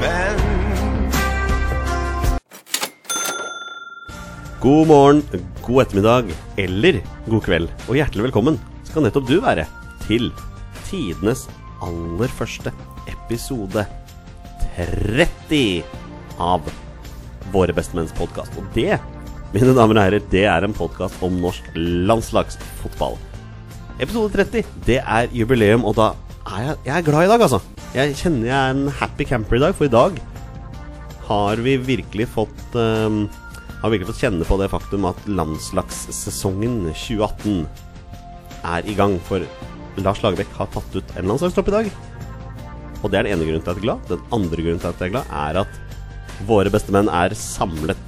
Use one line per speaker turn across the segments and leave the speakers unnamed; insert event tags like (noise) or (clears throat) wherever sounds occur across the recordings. menn.
God morgen, god ettermiddag eller god kveld, og hjertelig velkommen skal nettopp du være til tidenes aller første episode 30 av Våre bestemenns podkast. Og det, mine damer og herrer, det er en podkast om norsk landslagsfotball. Episode 30, det er jubileum, og da er jeg, jeg er glad i dag, altså. Jeg kjenner jeg er en happy camper i dag, for i dag har vi virkelig fått ehm, Har virkelig fått kjenne på det faktum at landslagssesongen 2018 er i gang. For Lars Lagerbäck har tatt ut en landslagstropp i dag. Og det er den ene grunnen til at jeg er glad. Den andre grunnen til at jeg er glad, er at våre bestemenn er samlet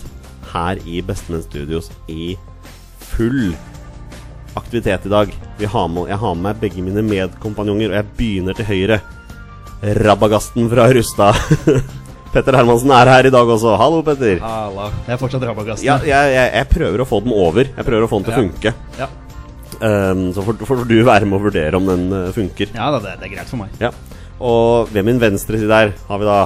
her i Bestemenn Studios i full aktivitet i dag. Vi har med, jeg har med meg begge mine medkompanjonger, og jeg begynner til høyre. Rabagasten fra Rustad. (laughs) Petter Hermansen er her i dag også. Hallo, Petter.
Ala. Jeg er fortsatt Rabagasten.
Ja, jeg, jeg, jeg prøver å få den over. Jeg prøver å få den til å
Ja.
funke.
ja.
Ehm, så får, får du være med å vurdere om den eh, funker.
Ja da, det, det er greit for meg.
Ja. Og ved min venstre side her har vi da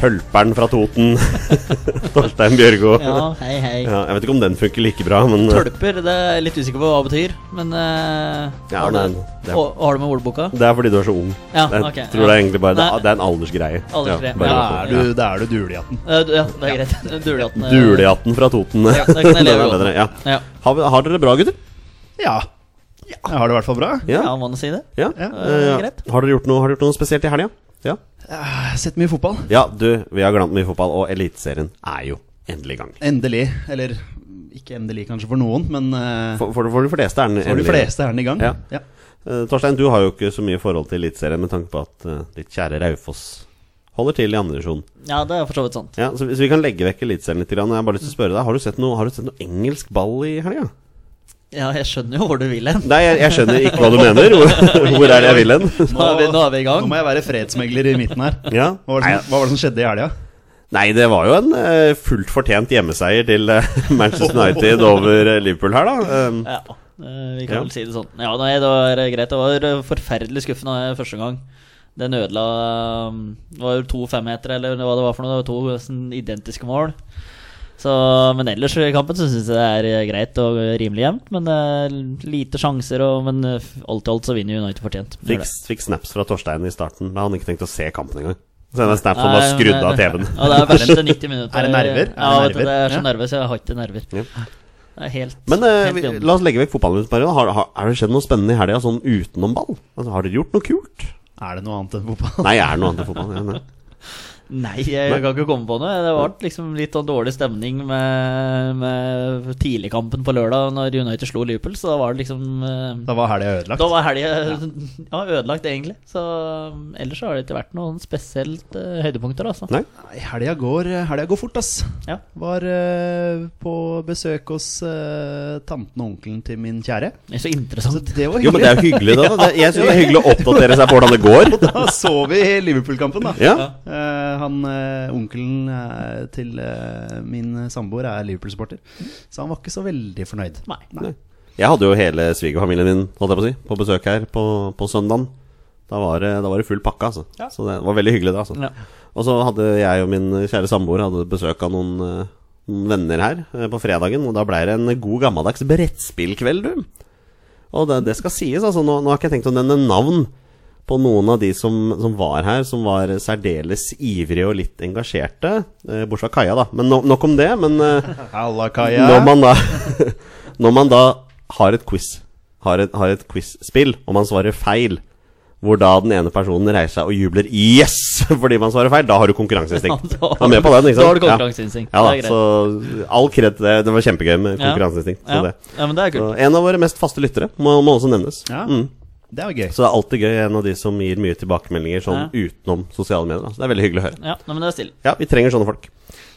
tølperen fra Toten. (laughs) Torstein Bjørgo. Ja.
Ja, (laughs) hei, hei.
jeg vet ikke om den funker like bra, men eh,
Tølper, det er jeg litt usikker på hva det betyr, men eh,
Ja,
har,
men
du,
det-
og, har du med ordboka?
det er fordi du er så ung.
Ja,
jeg
ok,
tror
ja.
det er egentlig bare Det,
Nei.
er- det er en aldersgreie.
Aldersgreie,
bare
Da
sånn.
Ja,
å
er
få-
du, da er du dulejatten.
Eh, du- ja, det er greit. (laughs) Dulehatten. eh,
Dulejatten fra Toten.
Ja, det
(laughs)
kan jeg
Den
leve
er
godt
bedre,
med.
ja.
Ja.
Har, vi- har dere det bra, gutter?
Ja. ja. Jeg har det i hvert fall bra.
ja, må man si det?
Ja,
Ja.
eh,
greit.
Har dere gjort noe, har dere gjort noe spesielt i helga? Ja.
Jeg har sett mye fotball.
ja, du, vi har glemt mye fotball, og Eliteserien er jo endelig i gang.
Endelig. Eller ikke endelig kanskje for noen, men eh,
For, for, for de fleste er den
for de
endelig i gang.
fleste er den i gang.
Ja. Eh, Torstein, du har jo ikke så mye forhold til Eliteserien med tanke på at eh, ditt kjære Raufoss holder til i andre divisjon.
Ja, det er for så vidt sånn. sant.
Ja, så, vi- så vi kan legge vekk Eliteserien litt. Grann. Jeg har bare lyst til å spørre deg, har du sett noe, har du sett noe engelsk ball i helga?
Ja, jeg skjønner jo hvor du vil hen.
Nei, jeg, jeg skjønner ikke hva du mener. Hvor, (laughs) hvor er det jeg vil hen?
Nå er vi, nå er vi i
Nå
gang.
må jeg være fredsmegler i midten her.
Ja.
Hva var det
Nei,
som, hva var det som skjedde i helga?
Nei, det var jo en eh, fullt fortjent hjemmeseier til eh, (laughs) Manchester United over eh, Liverpool her, da. Um,
Ja, eh, vi kan
Ja.
vel si det sånn. Ja, nei, det var eh, greit. Det var eh, forferdelig skuffende eh, første gang. Den ødela eh, Det var jo to femmetere, eller hva det var for noe. Det var to sånn, identiske mål. Så, men ellers i kampen så syns jeg det er eh, greit og eh, rimelig jevnt. Men eh, lite sjanser, og, men eh, alt i alt så vinner United fortjent. Gjør
fikk,
det.
fikk snaps fra Torstein i starten, men han hadde ikke tenkt å se kampen engang. Så det var snaps han bare
Nei,
skrudd av
det-
TV-en.
Ja, det er verste 90 minutter.
Er det nerver? Er det
Ja, vet du, det
nerver?
er så
Ja.
nervøs. Jeg har ikke nerver.
Ja.
Det er helt,
Men eh,
helt
vi,
beyond.
la oss legge vekk fotballen litt, Marion. Har, har, har det skjedd noe spennende i helga, sånn utenom ball? Altså, har dere gjort noe kult?
Er det noe annet enn fotball?
Nei, jeg er noe annet enn fotball. Ja, nei.
Nei, jeg
Nei.
kan ikke komme på noe. Det var liksom litt sånn dårlig stemning med, med tidligkampen på lørdag når United slo Liverpool, så da var det liksom eh,
Da var helga ødelagt.
Da var helga (laughs) ja, ødelagt, egentlig. Så um, ellers så har det ikke vært noen spesielt eh, høydepunkter, altså.
Nei.
Nei, Helga går, eh, helga går fort, ass.
Ja.
Var eh, på besøk hos eh, tanten og onkelen til min kjære.
Det er så
Så
interessant.
det var
Jo, men det er jo hyggelig, da. Det, jeg synes det er hyggelig å oppdatere seg på hvordan det går.
(laughs) Da så vi Liverpool-kampen, da.
Ja.
Eh, han, eh, Onkelen eh, til eh, min samboer er Liverpool-supporter, så han var ikke så veldig fornøyd.
(laughs) Nei.
Jeg hadde jo hele svigerfamilien min holdt jeg på, å si, på besøk her på, på søndagen. Da var, det, da var det full pakke, altså.
Ja.
Så det var veldig hyggelig. da, altså.
Ja.
Og så hadde jeg og min kjære samboer hadde besøk av noen, eh, noen venner her eh, på fredagen. Og da blei det en god gammeldags brettspillkveld, du. Og det, det skal sies, altså. Nå, nå har ikke jeg tenkt å nevne navn på noen av de som, som var her, som var særdeles ivrige og litt engasjerte. eh, Bortsett fra Kaja, da. Men no, nok om det. Men eh,
Halla, Kaja.
når man da (laughs) Når man da har et quiz Har et, har et quiz-spill Og man svarer feil Hvor da den ene personen reiser seg og jubler Yes! (laughs) Fordi man svarer feil Da har du konkurranseinstinkt
Ja, da-
Du er med på den, ikke sant?
da har du konkurranseinstinkt.
Ja, ja
Det er
da, så all kred til det Det var kjempegøy med
Ja.
konkurranseinstinkt så
Ja.
det.
ja, men det er
Så
kult.
En av våre mest faste lyttere Må, må også nevnes
Ja,
Mm.
Det var gøy.
Så det er alltid gøy En av de som gir mye tilbakemeldinger Sånn utenom sosiale medier da. Så det er veldig hyggelig å høre
Ja, nei, men det er stille.
Ja, vi trenger sånne folk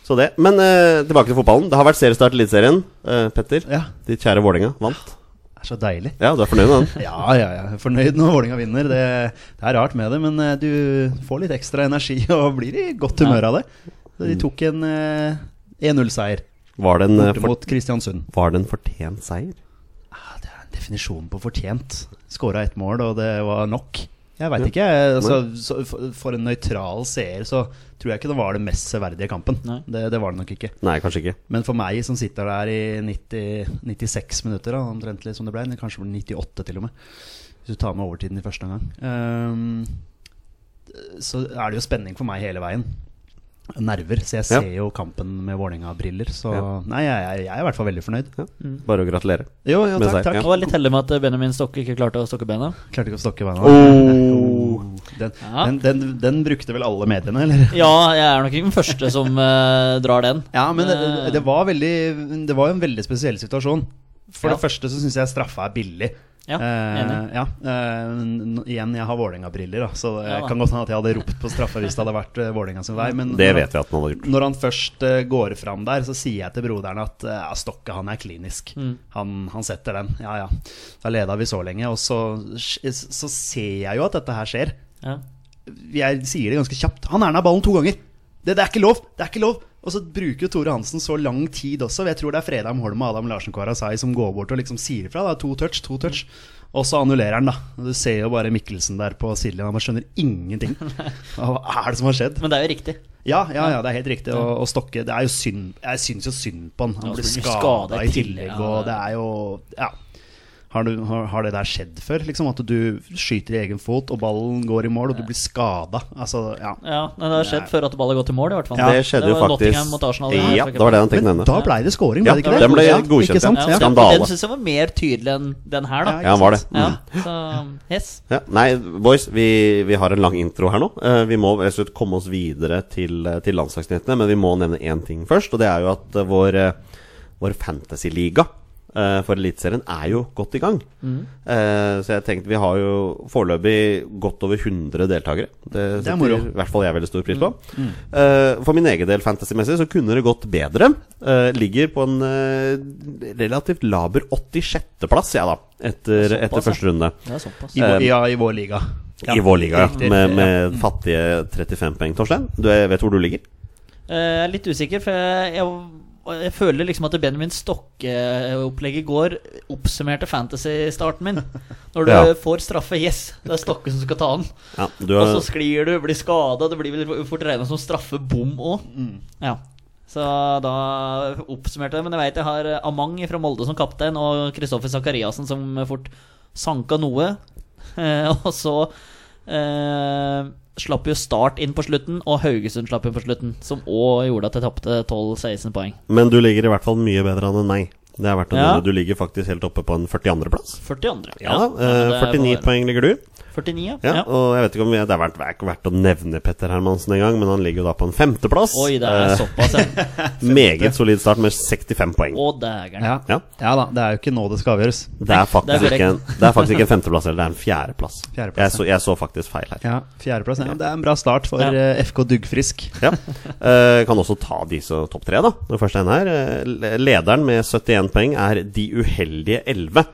Så det Men eh, tilbake til fotballen Det har vært seriestart i Eliteserien eh, Petter
Ja,
Ditt kjære Vålerenga vant.
det er så deilig.
Ja, du er fornøyd med den?
Ja, ja, ja. Fornøyd når Vålinga vinner. Det, det er rart med det, men eh, du får litt ekstra energi (laughs) og blir i godt humør av det. Så de tok en eh, 1-0-seier
Var det en, eh,
borte
for,
mot Kristiansund.
var det en fortjent seier?
Ja, det er en definisjon på fortjent. Skåra ett mål, og det var nok. Jeg veit ikke. jeg. Altså, så, for- for en nøytral seer så tror jeg ikke det var den mest severdige kampen.
Nei.
Det, det var det nok ikke.
Nei, kanskje ikke.
Men for meg som sitter der i 90, 96 minutter, da, omtrentlig som det ble, kanskje ble 98 til og med, hvis du tar med overtiden i første omgang, ehm, så er det jo spenning for meg hele veien. Nerver. Så jeg
Ja.
ser jo kampen med Vålerenga-briller. Så
Ja.
nei, jeg, jeg, jeg er i hvert fall veldig fornøyd.
Ja. Bare å gratulere.
Jo, jo, takk.
Med seier,
takk.
ja.
Mm. Jeg var litt heldig med at Benjamin Stokke ikke klarte å stokke bena.
Klarte ikke å stokke beina.
Oh.
Den,
Ja.
den, den, den brukte vel alle mediene, eller?
Ja, jeg er nok ikke den første som eh, drar den.
Ja, men det,
Eh,
det var veldig Det var jo en veldig spesiell situasjon. For
Ja.
det første så syns jeg straffa er billig.
Ja,
Eh,
enig.
ja, eh, n- igjen, jeg har Vålerenga-briller, da, så det
Ja da.
kan godt hende at jeg hadde ropt på straffa hvis det hadde vært eh, Vålerenga sin vei. Men når
Det vet
han,
vi at han hadde gjort.
når han først eh, går fram der, så sier jeg til broderen at eh, ja, Stokke han er klinisk.
Mm.
Han, han setter den. Ja ja. Da leda vi så lenge. Og så, så ser jeg jo at dette her skjer
Ja.
jeg sier det ganske kjapt. Han erna ballen to ganger. Det, det er ikke lov! Det er ikke lov! Og så bruker jo Tore Hansen så lang tid også. Jeg tror det er Fredheim Holm og Adam Larsen Kwarasai som går bort og liksom sier ifra. da. To touch, to touch. Og så annullerer han, da. Og Du ser jo bare Mikkelsen der på sidelinja. Man skjønner ingenting. Hva er det som har skjedd?
Men det er jo riktig.
Ja, ja, ja, det er helt riktig. Og, og Stokke det er jo synd, Jeg syns jo synd på han.
Ja,
Han blir
så blir han
skada i
skadet i
tillegg,
tillegg,
og
ja.
det er jo Ja. Har, du, har, har det der skjedd før? Liksom At du skyter i egen fot, og ballen går i mål, og du blir skada? Altså, ja.
Ja, men Det har skjedd før at ballen har gått i mål, i hvert fall.
Ja, det skjedde jo
var Nottingham mot
faktisk
Arsenal.
Ja, det var det han tenkte å
Men
nevne.
da blei det scoring,
Ja,
blei det ikke det?
den ble
Ja,
godkjent,
Ikke sant?
ja.
Ja,
Ja.
den,
Skandale.
den syns jeg var mer tydelig enn den her, da.
Ja, Mm. han var det.
Ja, så um, yes.
Ja, nei, boys, vi, vi har en lang intro her nå. Eh, vi må rett og slett komme oss videre til, eh, til landslagsnyhetene, men vi må nevne én ting først. Og det er jo at eh, vår, eh, vår fantasyliga eh, for Eliteserien er jo godt i gang. Eh, så jeg tenkte vi har jo foreløpig godt over 100 deltakere. Det
Det er
setter
moro.
i hvert fall jeg veldig stor pris på. Eh, for min egen del fantasymessig så kunne det gått bedre. Eh, ligger på en eh, relativt laber 86.-plass, jeg, da, etter,
Såpass,
etter
ja.
første runde.
Det er såpass.
I, vår, ja, I vår liga. Ja.
Eh, I vår liga, ja.
Riktig.
Med, med fattige 35 poeng, Torstein. Du er- vet hvor du ligger?
Eh, Jeg er litt usikker, for jeg, jeg, jeg føler liksom at Benjamin Stokke-opplegget i går oppsummerte fantasy-starten min. Når du
Ja.
får straffe, yes, det er Stokke som skal ta den.
Ja, du
Og så
er,
sklir du, blir skada. Det blir vel fort regna som straffebom òg.
mm.
Ja. Så da oppsummerte jeg. Men jeg veit jeg har eh, Amang fra Molde som kaptein, og Kristoffer Sakariassen som fort sanka noe. (laughs) Eh, og så eh, slapp jo Start inn på slutten, og Haugesund slapp inn på slutten. Som òg gjorde at jeg tapte 12-16 poeng.
men du ligger i hvert fall mye bedre an enn meg. Det er verdt å
Ja.
nevne. Du ligger faktisk helt oppe på en 42.-plass.
42.
Ja, eh,
det er
49
bare-
poeng ligger du.
49, ja.
Ja,
ja.
Og jeg vet ikke om jeg, det er verdt, det er ikke verdt å nevne Petter Hermansen engang, men han ligger jo da på en femteplass.
Oi, det
Eh.
er såpass, ja.
meget solid start med 65 poeng.
Å, dægeren.
Ja.
Ja,
ja da, det er jo ikke nå det skal avgjøres.
det er faktisk,
det er
ikke, en, det er faktisk ikke en femteplass, eller det er en fjerdeplass.
Fjerdeplass,
Jeg, så- jeg så faktisk feil her.
Ja, Fjerdeplass. Ja. Det er en bra start for
Ja.
eh, FK Duggfrisk.
Ja. Eh, kan også ta de som topp tre, da. Den første en her. eh, le- Lederen med 71 poeng er De uheldige 11.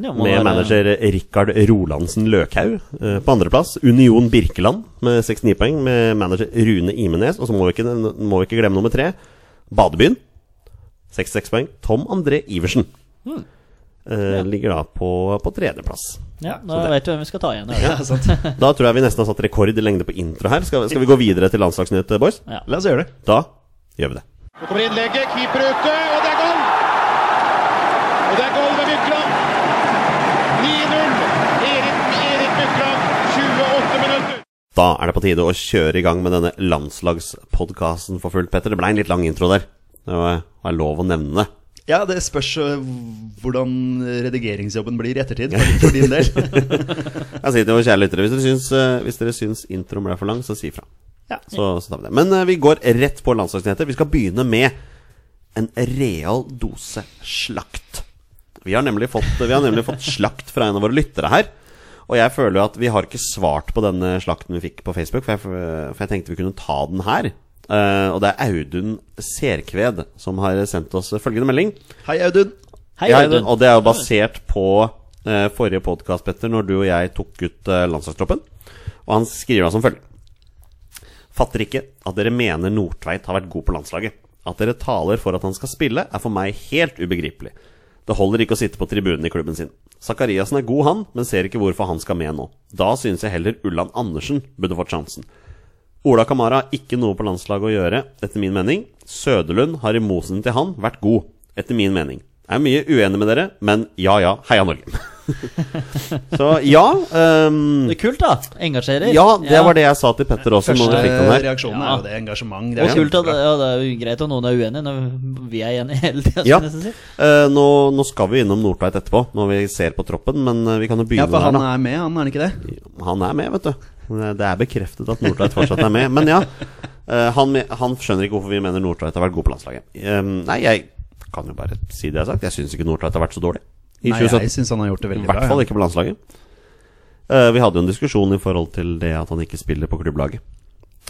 Ja, må
Med
være-
manager Rikard Rolandsen Løkhaug. Eh, På andreplass Union Birkeland med 69 poeng, med manager Rune Imenes. Og så må vi ikke, må vi ikke glemme nummer tre, Badebyen. 66 poeng. Tom André Iversen.
Hmm.
Eh, Ligger da på, på tredjeplass.
Ja,
så
da
det-
vet du hvem vi skal ta igjen. Ja.
Ja, sant.
Da tror jeg vi nesten har satt rekord i lengde på intro her. Skal, skal vi gå videre til landslagsnytt, boys?
Ja.
La oss gjøre det.
Da gjør vi det.
Nå kommer innlegget, keeper ute, og det er goal! Og det er goal ved Mykland. 9-0. Erik, Erik Mykland, 28 minutter.
Da er det på tide å kjøre i gang med denne landslagspodkasten for fullt, Petter. Det ble en litt lang intro der. Det var var lov å nevne det.
Ja, det spørs eh, hvordan redigeringsjobben blir i ettertid, for, for din del.
Jeg sier til våre kjære lyttere, hvis dere syns, eh, hvis dere syns introen ble for lang, så si ifra.
Ja.
Så, så tar vi det. Men eh, vi går rett på landslagsnyheter. Vi skal begynne med en real dose slakt. Vi har nemlig fått, vi har nemlig fått slakt fra en av våre lyttere her. Og jeg føler jo at vi har ikke svart på denne slakten vi fikk på Facebook, for jeg, for jeg tenkte vi kunne ta den her. Eh, og det er Audun Serkved som har sendt oss følgende melding.
Hei, Audun.
Hei,
Ja,
Audun.
Og det er jo basert på eh, forrige podkast, Petter, når du og jeg tok ut eh, landslagstroppen. Og han skriver da som følger. Fatter ikke at dere mener Nordtveit har vært god på landslaget. At dere taler for at han skal spille, er for meg helt ubegripelig. Det holder ikke å sitte på tribunen i klubben sin. Sakariassen er god, han, men ser ikke hvorfor han skal med nå. Da synes jeg heller Ulland Andersen burde fått sjansen. Ola Kamara har ikke noe på landslaget å gjøre, etter min mening. Søderlund har i motsetning til han vært god, etter min mening. Jeg er mye uenig med dere, men ja ja, heia Norge. (laughs) Så ja ehm,
Det er kult, da. Engasjerer.
Ja, det var det jeg sa til Petter også. Når vi
Første
fikk den her
reaksjonen er jo det engasjement. Det
Og
er
kult at,
kjempebra.
ja, det er jo greit om noen er uenige, når vi er enige hele tida.
Ja. Eh, nå, nå skal vi innom Nordtveit etterpå, når vi ser på troppen. Men eh, vi kan jo
Ja,
begynne
for han
der, da.
er med, han er han ikke det?
Han er med, vet du. Det er bekreftet at Nordtveit fortsatt er med. Men ja, eh, han, me- han skjønner ikke hvorfor vi mener Nordtveit har vært god på landslaget. Eh, nei, jeg kan jo bare si det jeg har sagt. Jeg syns ikke Nordtveit har vært så dårlig i
Nei,
2017.
jeg syns han har gjort det
I
veldig bra.
hvert fall
ja.
ikke på landslaget. Eh, vi hadde jo en diskusjon i forhold til det at han ikke spiller på klubblaget.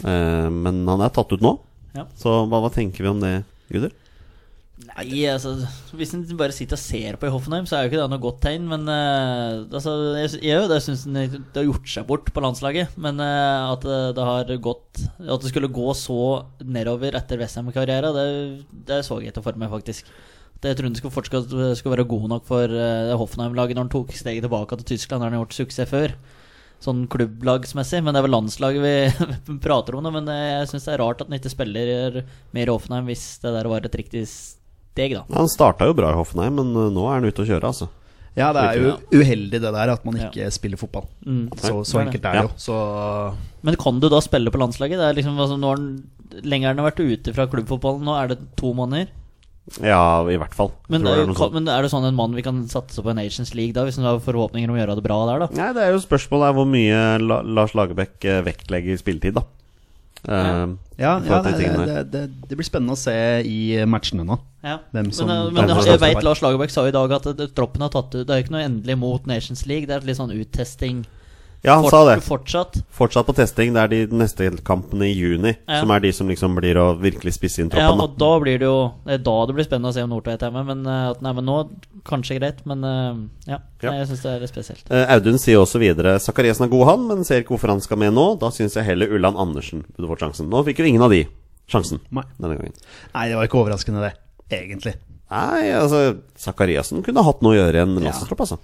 Eh, men han er tatt ut nå.
Ja.
Så hva, hva tenker vi om det, gutter?
Nei, altså Hvis en bare sitter og ser på i Hoffenheim, så er jo ikke det noe godt tegn. Men eh, altså, jeg, jeg, er jo det syns det har gjort seg bort på landslaget. Men eh, at det, det har gått At det skulle gå så nedover etter Westham-karriera, det, det så jeg ikke for meg, faktisk. Det- Jeg trodde han skulle eh, fortsatt skulle være god nok for eh, det Hoffenheim-laget når han tok steget tilbake til Tyskland, der han har gjort suksess før. Sånn klubblagsmessig, men det er vel landslaget vi (laughs) prater om nå. Men eh, jeg syns det er rart at han ikke spiller mer i Hoffenheim hvis det der var et riktig steg, da.
Han starta jo bra i Hoffenheim, men eh, nå er han ute å kjøre, altså.
Ja, det er jo uheldig det der at man ikke spiller fotball. Så, så
det er
enkelt
Mm.
er
det.
det
Ja.
jo. Så
Mm. Men kan du da spille på landslaget? Det er liksom, altså, nå har han, lenger han har vært ute fra klubbfotballen, nå er det to måneder.
Ja, i hvert fall. Jeg tror
Men, det,
det
er
er
jo-
noe sånt.
men er det sånn en mann vi kan satse på i Nations League, da, hvis han har forhåpninger om å gjøre det bra der, da?
Nei, det er jo spørsmålet er hvor mye La Lars Lagerbäck eh, vektlegger spilletid, da. Eh,
ja,
i
ja
forhold til
det,
de tingene der.
det, det, det blir spennende å se i matchene nå.
Ja.
Hvem som-
men eh,
hvem
men
som
jeg
satser
på.
vet Lars Lagerbäck sa i dag at eh, troppen har tatt ut Det er jo ikke noe endelig mot Nations League, det er litt sånn uttesting
Ja, han
fort-
sa det.
fortsatt.
Fortsatt på testing. Det er de neste kampene i juni
Ja.
som er de som liksom blir å virkelig spisse inn
Ja,
troppen.
og da blir det jo Det er da det blir spennende å se om Nordtveit er med, men eh, at han er med nå, kanskje greit, men eh, ja.
Ja.
Nei, jeg syns det er litt spesielt.
Eh, Audun sier også videre Sakariassen er god han, men ser ikke hvorfor han skal med nå. Da syns jeg heller Ulland Andersen burde fått sjansen. Nå fikk jo ingen av de sjansen
Nei.
denne gangen.
Nei, det var ikke overraskende, det. Egentlig.
Nei, altså Sakariassen kunne hatt noe å gjøre i en landslagstropp, altså.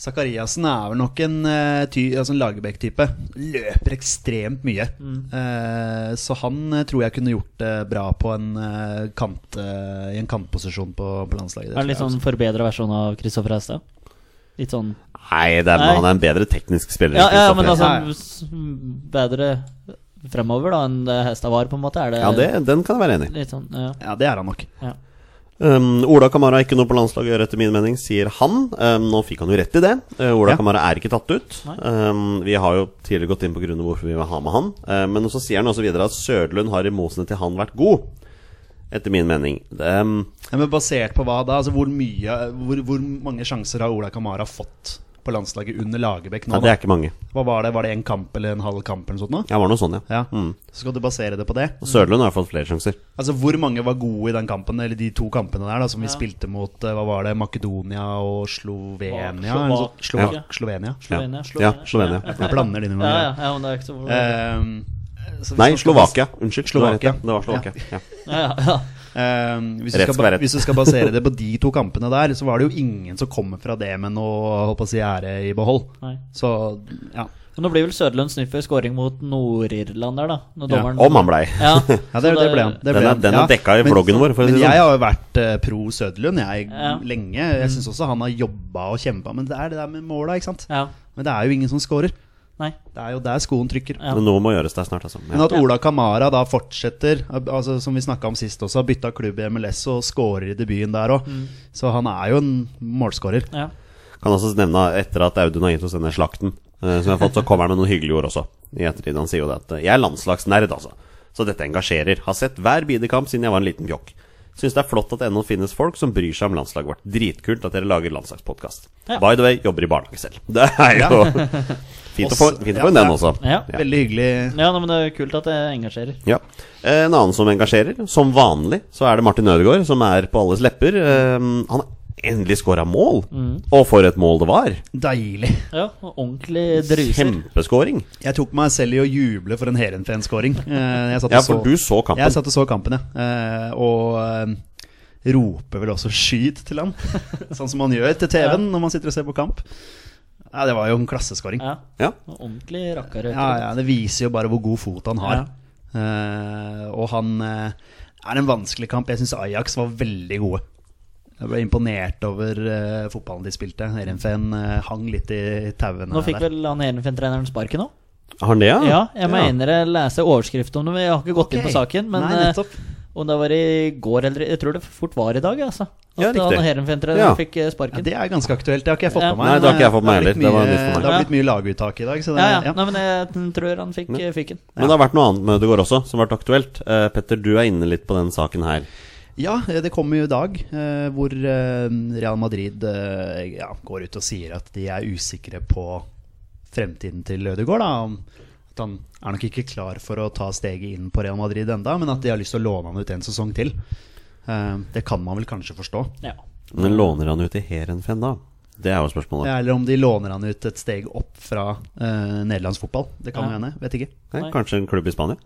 Sakariassen er vel nok en, eh, ty- altså en Lagerbäck-type. Løper ekstremt mye.
Mm.
Eh, så han eh, tror jeg kunne gjort det bra på en eh, kant, eh, i en kantposisjon på, på landslaget. det
Er det
tror jeg
litt sånn
også.
forbedra versjon av Kristoffer Hestad? Litt sånn
Nei, det er,
Nei.
han er en bedre teknisk spiller.
Ja,
enn
ja
Kristoffer
men
Eriksen.
altså
Ja, ja.
s- bedre fremover da enn det Hestad var, på en måte? Er det,
ja det, den kan jeg være enig i.
litt sånn ja.
Ja, det er han nok.
ja.
Um, Ola Kamara er ikke noe på landslaget å gjøre, etter min mening, sier han. Um, nå fikk han jo rett i det. Uh, Ola
Ja.
Kamara er ikke tatt ut.
Nei.
Um, vi har jo tidligere gått inn på grunnen hvorfor vi vil ha med han. Uh, men så sier han også videre at Søderlund har i motsetning til han vært god, etter min mening. Um,
Ja, men basert på hva da? Altså, hvor, mye, hvor, hvor mange sjanser har Ola Kamara fått på landslaget under Lagerbäck nå?
nei, det
da?
er ikke mange.
Hva var det? Var det en kamp eller en halv kamp eller noe sånt? Nå?
Ja, det var noe sånn, ja.
Ja.
Mm.
Så skal du basere det på det?
Og Søderlund har fått flere sjanser.
Altså Hvor mange var gode i den kampen, eller de to kampene der da som vi spilte mot eh, hva var det, Makedonia og Slovenia?
Slova-
eller noe sånt? Slova-
Ja.
Slovenia.
Slovenia.
Ja, Slovenia.
Ja,
Jeg blander dine
ja, ja,
med
ja, men det er ikke så
Ehm, så hvis
Nei,
man skal
Slovakia. Unnskyld.
Slovakia.
Det var Slovakia. Ja.
ja, ja, ja.
bas- ehm, hvis, du
Rett
skal,
skal være
ba-
rett.
hvis du skal basere det på de to kampene der, så var det jo ingen som kommer fra det med noe holdt på å si, ære i behold.
Nei.
Så ja.
Men nå blir vel Søderlund snudd for scoring mot Nord-Irland der, da. Når
Ja,
dommeren
Om han blei.
(laughs)
(laughs)
Ja,
Ja, det,
så
det ble han. Det ble
Den er-
han.
den er
ja.
dekka i
Men-
vloggen vår, for å si
men
det sånn.
jeg har jo vært eh, pro Søderlund jeg,
Ja. Mm.
lenge. Jeg syns også han har jobba og kjempa, men det er det der med måla, ikke sant.
Ja.
Men det er jo ingen som scorer.
Nei.
Det er jo der skoen trykker.
Ja.
Men noe må gjøres der snart, altså.
Men
Ja.
at Ola Kamara da fortsetter, al- altså som vi snakka om sist også, har bytta klubb i MLS og scorer i debuten der òg. Så han er jo en målscorer.
Ja.
Kan også nevne etter at Audun har gitt oss denne slakten, eh, som jeg har fått, så kommer han med noen hyggelige ord også. I ettertid han sier jo det at eh, jeg er landslagsnerd, altså. Så dette engasjerer. Har sett hver bidekamp siden jeg var en liten fjokk. Syns det er flott at det ennå finnes folk som bryr seg om landslaget vårt. Dritkult at dere lager landslagspodkast.
Ja.
By the way, jobber i barnehage selv. (laughs) Det er jo fint å få
Også-
fint å få
ja,
inn den
ja.
også.
Ja.
Ja.
Veldig hyggelig.
ja, nei, men det er jo kult at det engasjerer.
Ja. Eh, En annen som engasjerer, som vanlig, så er det Martin Ødegaard, som er på alles lepper. Eh, Han har endelig scora mål! Og for et mål det var!
Deilig.
Ja, og ordentlig druser.
Kjempeskåring.
Jeg tok meg selv i å juble for en Heerenveen-scoring. Eh, Jeg satt og
Ja,
så-
for du så kampen.
Jeg satt og så kampen, ja. Eh, og eh, roper vel også 'skyt' til han. (laughs) sånn som man gjør til TV-en når man sitter og ser på kamp. Ja, det var jo en klasseskåring.
Ja.
Ja.
Ordentlig rakkarøyter.
Ja, ja, det viser jo bare hvor god fot han har.
Ja.
Eh, og han eh, er en vanskelig kamp. Jeg syns Ajax var veldig gode. Jeg ble imponert over eh, fotballen de spilte. Renfen eh, hang litt i tauene
Nå fikk vel han Erenfen-treneren sparken òg?
Har han det, ja?
Ja, jeg mener jeg leser overskrift om det, men jeg har ikke gått inn
Ah, Ok.
på saken. Men
Nei,
eh,
nettopp.
om det var i går eller Jeg tror det fort var i dag, altså. At
Ja, riktig.
han Herenfen-treneren
Ja.
fikk eh,
Ja,
sparken.
det er ganske aktuelt. Det har ikke jeg fått
Ja.
med meg.
Nei, det har ikke jeg fått med
Det har blitt
heller. Det var
mye-
nytt for meg.
Det har blitt mye laguttak i dag. Så det,
Ja, ja.
ja.
Nei, men jeg tror han fikk, eh, fikk den.
Men det har vært noe annet med Ødegaard også, som har vært aktuelt. Eh, Petter, du er inne litt på den saken her.
Ja, det kommer jo i dag, eh, hvor eh, Real Madrid eh, ja, går ut og sier at de er usikre på fremtiden til Ødegaard. Da. om- At han er nok ikke klar for å ta steget inn på Real Madrid enda, men at de har lyst til å låne han ut en sesong til. Eh, Det kan man vel kanskje forstå.
Ja.
Men låner han ut i Heerenveen da? Det er jo spørsmålet.
Eller om de låner han ut et steg opp fra eh, nederlandsk fotball. Det kan jo
Ja.
hende, vet ikke.
Nei,
Nei.
Eh, kanskje en klubb i Spania?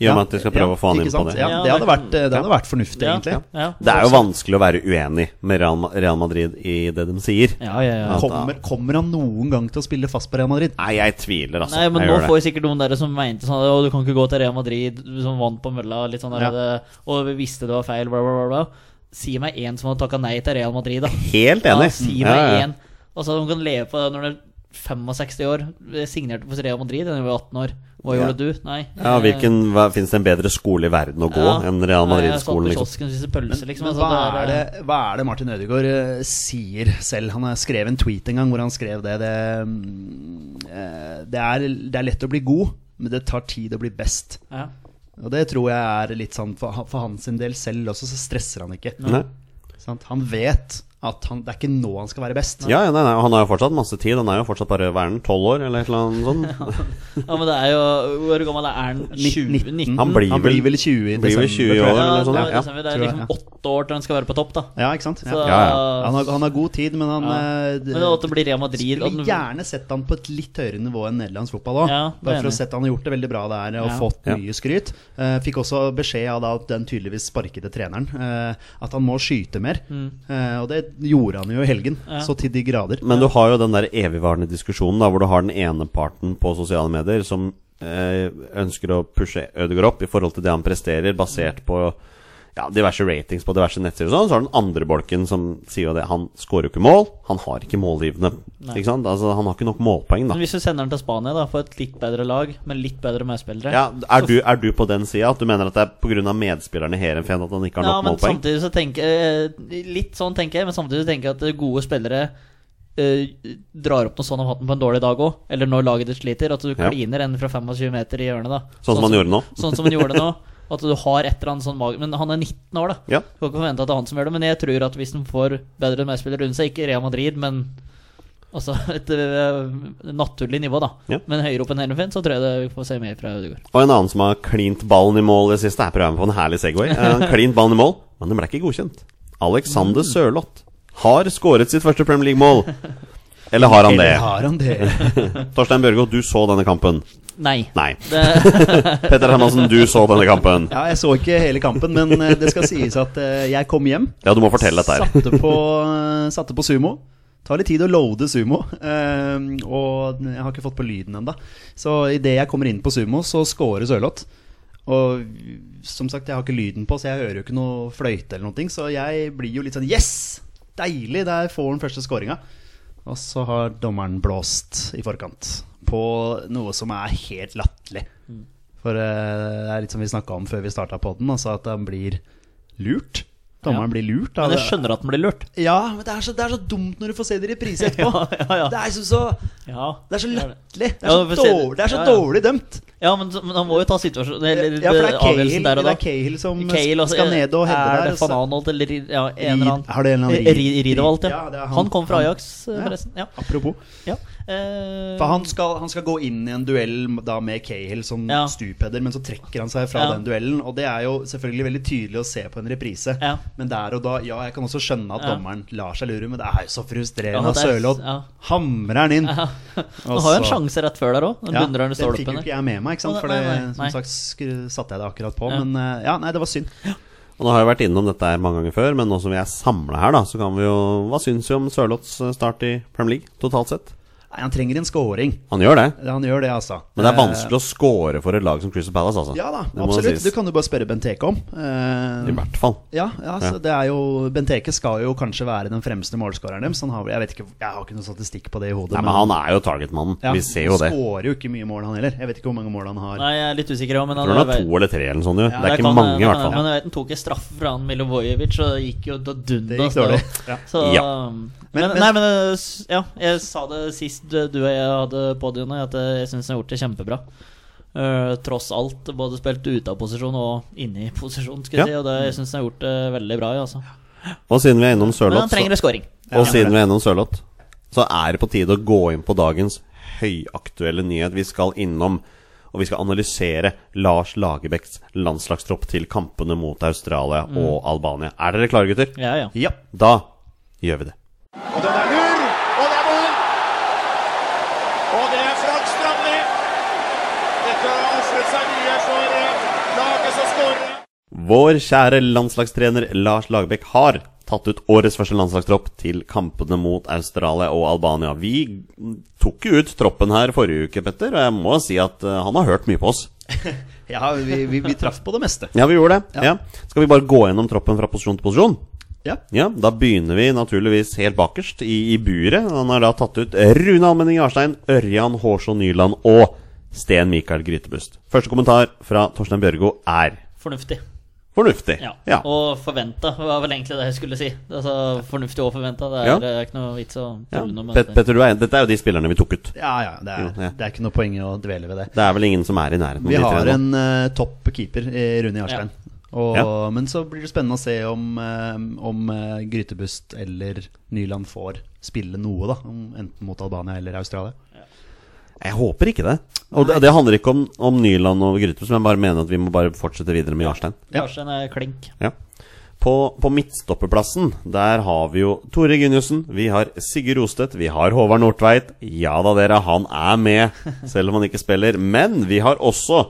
I og med at de skal
Ja,
prøve å få han
ikke
inn på
sant?
det.
Ja,
Ja,
det hadde
det kan-
vært, eh, det hadde vært fornuftig,
Ja,
egentlig.
ja.
Det er jo vanskelig å være uenig med Real Ma- Real Madrid i det de sier.
Ja, ja, ja.
Kommer, kommer han noen gang til å spille fast på Real Madrid?
Nei, jeg tviler, altså.
Nei, men
jeg
nå
gjør det.
får sikkert noen der som mente sånn Å, du kan ikke gå til Real Madrid, som vant på mølla, litt sånn der,
Ja.
det, og vi visste det var feil, bla, bla, bla. bla. Si meg én som har takka nei til Real Madrid, da.
Helt enig.
Ja, si meg én. Altså, de kan leve på det når du er 65 år. Jeg Signerte for Real Madrid da jeg var 18 år. Hva
Ja.
gjorde du? Nei.
Ja, hvilken, hva, Finnes det en bedre skole i verden å gå enn Real Madrid-skolen?
Jeg
Liksom?
satt på kiosken og spiste pølse, liksom.
Men
altså,
hva er,
det er,
det, hva er det Martin Ødegaard eh, sier selv? Han har skrevet en tweet en gang hvor han skrev det. Det, mm, eh, det, er, det er lett å bli god, men det tar tid å bli best.
ja.
Og det tror jeg er litt sånn for, for hans del selv også, så stresser han ikke.
Nei.
Sant? Han vet at han, det er ikke nå han skal være best.
Ja, ja, nei, nei, og Han har jo fortsatt masse tid. Han er jo fortsatt bare hva er han, 12 år, eller et eller annet sånt.
(laughs) ja, men det er jo Hvor gammel er han? 20?
19.
19?
Han blir
Han
vel,
blir vel 20 i
blir vel
desember,
20 i
tror jeg.
år,
Ja,
eller
det,
sånn. Ja.
er, liksom, det er
tror jeg,
liksom åtte år til han skal være på topp, da.
Ja, ikke sant?
Så,
Ja.
ja.
Han, har, han har god tid, men han eh, det-
Men at det blir Real Madrid og
Skulle
den-
gjerne sett han på et litt høyere nivå enn nederlandsk fotball òg.
Ja, det er
bare for
enig.
å sette han har gjort det veldig bra der og
Ja.
fått
Ja.
mye skryt. Eh, fikk også beskjed av da at den tydeligvis sparkede treneren eh, at han må skyte mer.
Mm.
Eh, og det gjorde han jo i helgen, så til de grader.
Men du har jo den der evigvarende diskusjonen da, hvor du har den ene parten på sosiale medier som eh, ønsker å pushe Ødegaard opp i forhold til det han presterer, basert på ja, diverse ratings på diverse nettsider og sånn. Så har du den andre bolken som sier jo det. Han skårer jo ikke mål. Han har ikke målgivende. Ikke sant? Altså, han har ikke nok målpoeng, da.
Men hvis du sender den til Spania, da, på et litt bedre lag, med litt bedre medspillere
Ja, er du, er du på den sida at du mener at det er pga. medspillerne i Heerenveen at han ikke har
Ja,
nok
men
målpoeng?
samtidig så tenker eh, Litt sånn tenker jeg, men samtidig så tenker jeg at gode spillere eh, drar opp noe sånn om hatten på en dårlig dag òg, eller når laget ditt sliter. At du
Ja.
kliner en fra 25 meter i hjørnet, da.
Sånn som han gjorde nå.
Sånn som han gjorde nå. At du har et eller annet sånn mag... Men han er 19 år, da.
Ja.
Skal ikke forvente at det er han som gjør det, men jeg tror at hvis han får bedre medspillere rundt seg, ikke Real Madrid, men Altså et eh, naturlig nivå, da.
Ja.
Men høyere opp enn Herenfen, så tror jeg det vi får se mer fra Ødegaard.
Og en annen som har klint ballen i mål i det siste. Her prøver jeg meg på en herlig Segway. Eh, Han klint ballen i mål, men den ble ikke godkjent.
Mm.
Alexander Sørloth har skåret sitt første Premier League-mål. Eller har han det?
Eller har han det? (laughs)
Torstein Børgo, du så denne kampen.
Nei.
Nei. (laughs)
Det,
Petter Hermansen, du så denne kampen.
Ja, jeg så ikke hele kampen, men eh, det skal sies at eh, jeg kom hjem.
Ja, du må fortelle dette her.
Satte på, eh, satte på sumo. Tar litt tid å loade sumo, eh, og jeg har ikke fått på lyden ennå. Så idet jeg kommer inn på sumo, så scorer Sørloth. Og som sagt, jeg har ikke lyden på, så jeg hører jo ikke noe fløyte eller noe. ting, Så jeg blir jo litt sånn Yes! Deilig! Der får han første scoringa. Og så har dommeren blåst i forkant på noe som er helt latterlig. For eh, det er litt som vi snakka om før vi starta podden, altså at han blir lurt. Dommeren blir lurt. av
men jeg
det-
skjønner at den blir lurt.
ja, men det er, så, det er så dumt når du får se det i
(laughs)
reprise etterpå.
Ja, ja, ja.
Det er liksom så,
Ja,
det er så
det er det.
latterlig. Det er
Ja,
så,
du får se det.
dårlig, det er så
Ja, ja.
dårlig dømt.
Ja, men, men han må jo ta situasjonen Eller eh,
Ja, for det er
avgjørelsen
Cahill,
der og da.
det er Cahill som
Cahill også,
skal ned og hedde
Er
der,
det
og så-
Fananolt eller Ri- ja, en
Rid-
eller annen?
har det en eller annen
Ri-
Rid-
Ri- Ridderholt, ja.
Ja, det er
han,
han.
kom fra
Han-
Ajax, eh,
Ja.
forresten. Ja.
Apropos.
ja. Eh,
For han skal, han skal gå inn i en duell da med Cahill som
Ja.
stupedder, men så trekker han seg fra
Ja.
den duellen. Og det er jo selvfølgelig veldig tydelig å se på en reprise.
Ja.
Men der og da Ja, jeg kan også skjønne at
Ja.
dommeren lar seg lure, men det er jo så frustrerende.
Ja,
Ja,
det er-
Sørloth
ja. (laughs)
hamrer han inn.
ja.
Og
Han har jo en
så-
sjanse rett før der òg. Den
Altså- Ja,
dundrer han
den
i
fikk jo
stålpunkten.
ikke jeg med meg, ikke sant?
Å,
for
nei,
det,
nei, nei.
som sagt skru- satte jeg det akkurat på.
Ja.
Men eh, ja, nei, det var synd.
Og Og nå har jeg vært innom dette her mange ganger før, men nå som vi er samla her, da, så kan vi jo Hva syns vi om Sørloths eh, start i Premier League totalt sett?
Nei, han trenger en scoring.
Han gjør det,
Han gjør det, altså. Eh,
men det er vanskelig å score for et lag som Crystal Palace, altså.
Ja da,
Det må
absolutt.
sies.
Det kan du bare spørre Benteke om. Eh,
I hvert fall.
ja, ja, så det er jo Benteke skal jo kanskje være den fremste målskåreren deres. så Han har, jeg, vet ikke, jeg har ikke noen statistikk på det i hodet.
Nei, men han er jo targetmannen.
ja,
Vi ser jo det.
Han skårer jo ikke mye mål, han heller. Jeg vet ikke hvor mange mål han har.
Nei, jeg er litt usikker òg, men
Jeg tror han er to eller tre eller noe sånt, jo. Det er
Jeg
ikke
kan-
mange, i
jeg
hvert
kan-
fall.
Men jeg vet han tok en straffe fra han Milivojevic, og det gikk jo da
Det
dunda.
gikk
så- (laughs)
dårlig. Ja.
Så,
Ja.
um,
Men-
men,
men-
nei, men uh, s- ja, jeg sa det sist du du og jeg hadde podiet nå, at uh, jeg syns han har gjort det kjempebra. Uh, tross alt, både spilt ute av posisjon og inne i posisjon, skulle jeg
Ja.
si. Og det, jeg syns han har gjort det veldig bra. ja, Altså.
Og siden vi er innom
Men han
Sørloth, så-
trenger en scoring.
Og siden vi er innom Sørloth, så er det på tide å gå inn på dagens høyaktuelle nyhet. Vi skal innom, og vi skal analysere Lars Lagerbäcks landslagstropp til kampene mot Australia
Mm.
og Albania. Er dere klare, gutter?
Ja, ja.
Ja.
Da gjør vi det.
Og den er lur! Og det er mål! Og det er Frank Strandli! Dette har ofret seg mye for eh, laget som skårer.
Vår kjære landslagstrener Lars Lagerbäck har tatt ut årets første landslagstropp til kampene mot Australia og Albania. Vi tok jo ut troppen her forrige uke, Petter, og jeg må si at eh, han har hørt mye på oss.
ja, vi, vi, vi traff på det meste.
Ja, vi gjorde det.
Ja.
Ja. Skal vi bare gå gjennom troppen fra posisjon til posisjon?
Ja.
Ja, Da begynner vi naturligvis helt bakerst i, i buret. Han har da tatt ut Rune Almenning Jarstein, Ørjan Hårså Nyland og Sten Mikael Grytebust. Første kommentar fra Torstein Bjørgo er
Fornuftig.
fornuftig.
Ja. Og forventa, var vel egentlig det jeg skulle si. Altså, fornuftig og forventa. Det er
Ja.
det er ikke noe vits å
Ja.
tulle noe med.
Pet-
dette.
Petter, du er, dette er jo de spillerne vi tok ut.
Ja, ja, det er,
Jo, ja.
det er ikke noe poeng i å dvele ved det.
Det er vel ingen som er i nærheten. av
Vi
de tre
har
nå.
en eh, topp keeper i Rune Jarstein. Og,
Ja.
Men så blir det spennende å se om, eh, om eh, Grytebust eller Nyland får spille noe, da. om- Enten mot Albania eller Australia.
Jeg håper ikke det. Og det, det handler ikke om, om Nyland og Grytebust, men jeg bare mener at vi må bare fortsette videre med Jarstein.
Ja.
Larsen er klink.
Ja. På, på midtstopperplassen, der har vi jo Tore Gunjussen, vi har Sigurd Rostedt, vi har Håvard Nordtveit. Ja da, dere, han er med, selv om han ikke spiller. Men vi har også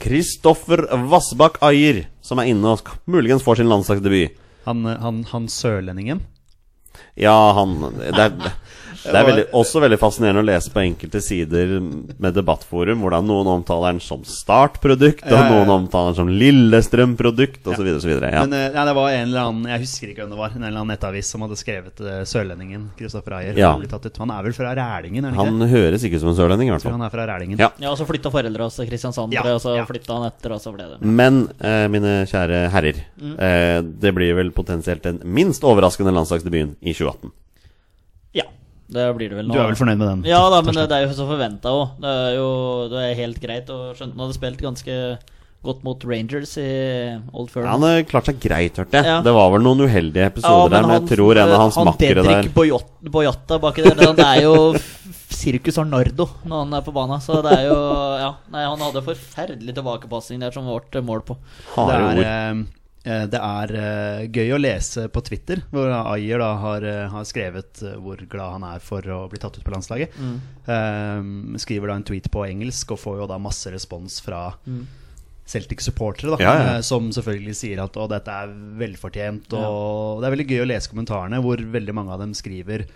Kristoffer Vassbakk Ajer, som er inne og muligens får sin landslagsdebut.
Han, eh, han, han sørlendingen.
Ja, han Det er, det er veldig, også veldig fascinerende å lese på enkelte sider med debattforum hvordan noen omtaler den som startprodukt, og
Ja, ja, ja.
noen omtaler den som Lillestrøm-produkt, osv. videre Ja.
Men eh, nei, det var en eller annen Jeg husker ikke hvem det var En eller annen nettavis som hadde skrevet eh, sørlendingen Kristoffer Ayer.
Ja.
som ble tatt ut. Han er vel fra Rælingen, er han ikke?
Han høres ikke ut som en sørlending, i hvert
det?
fall.
Han er fra Rælingen.
Ja.
Ja, og så flytta foreldra oss til Kristiansand,
Ja,
tror jeg, og så
ja.
flyttet han etter, og så ble det
Men eh, mine kjære herrer,
Mm.
eh, det blir vel potensielt den minst overraskende landslagsdebuten i 2018.
Ja, det blir det vel nå.
Du er vel fornøyd med den?
Ja da, men det, det er jo så forventa òg. Det er jo det er helt greit. Og skjønt han hadde spilt ganske godt mot Rangers i Old Firm.
Ja, han har klart seg greit, hørte jeg.
Ja.
Det var vel noen uheldige episoder der, men jeg tror en av hans
eh,
makkere der
Dedrick Boyot- Boyata baki der, han er jo f- sirkus Arnardo når han er på banen. Så det er jo Ja, nei, han hadde forferdelig tilbakepassing der som vårt mål på.
Det
harde
er,
ord.
eh, eh, det er eh, gøy å lese på Twitter, hvor Ayer da har, eh, har skrevet eh, hvor glad han er for å bli tatt ut på landslaget. Eh, skriver da en tweet på engelsk og får jo da masse respons fra
Mm.
Celtic-supportere, da,
Ja, ja.
eh, som selvfølgelig sier at å, dette er velfortjent. Og det er veldig gøy å lese kommentarene, hvor veldig mange av dem skriver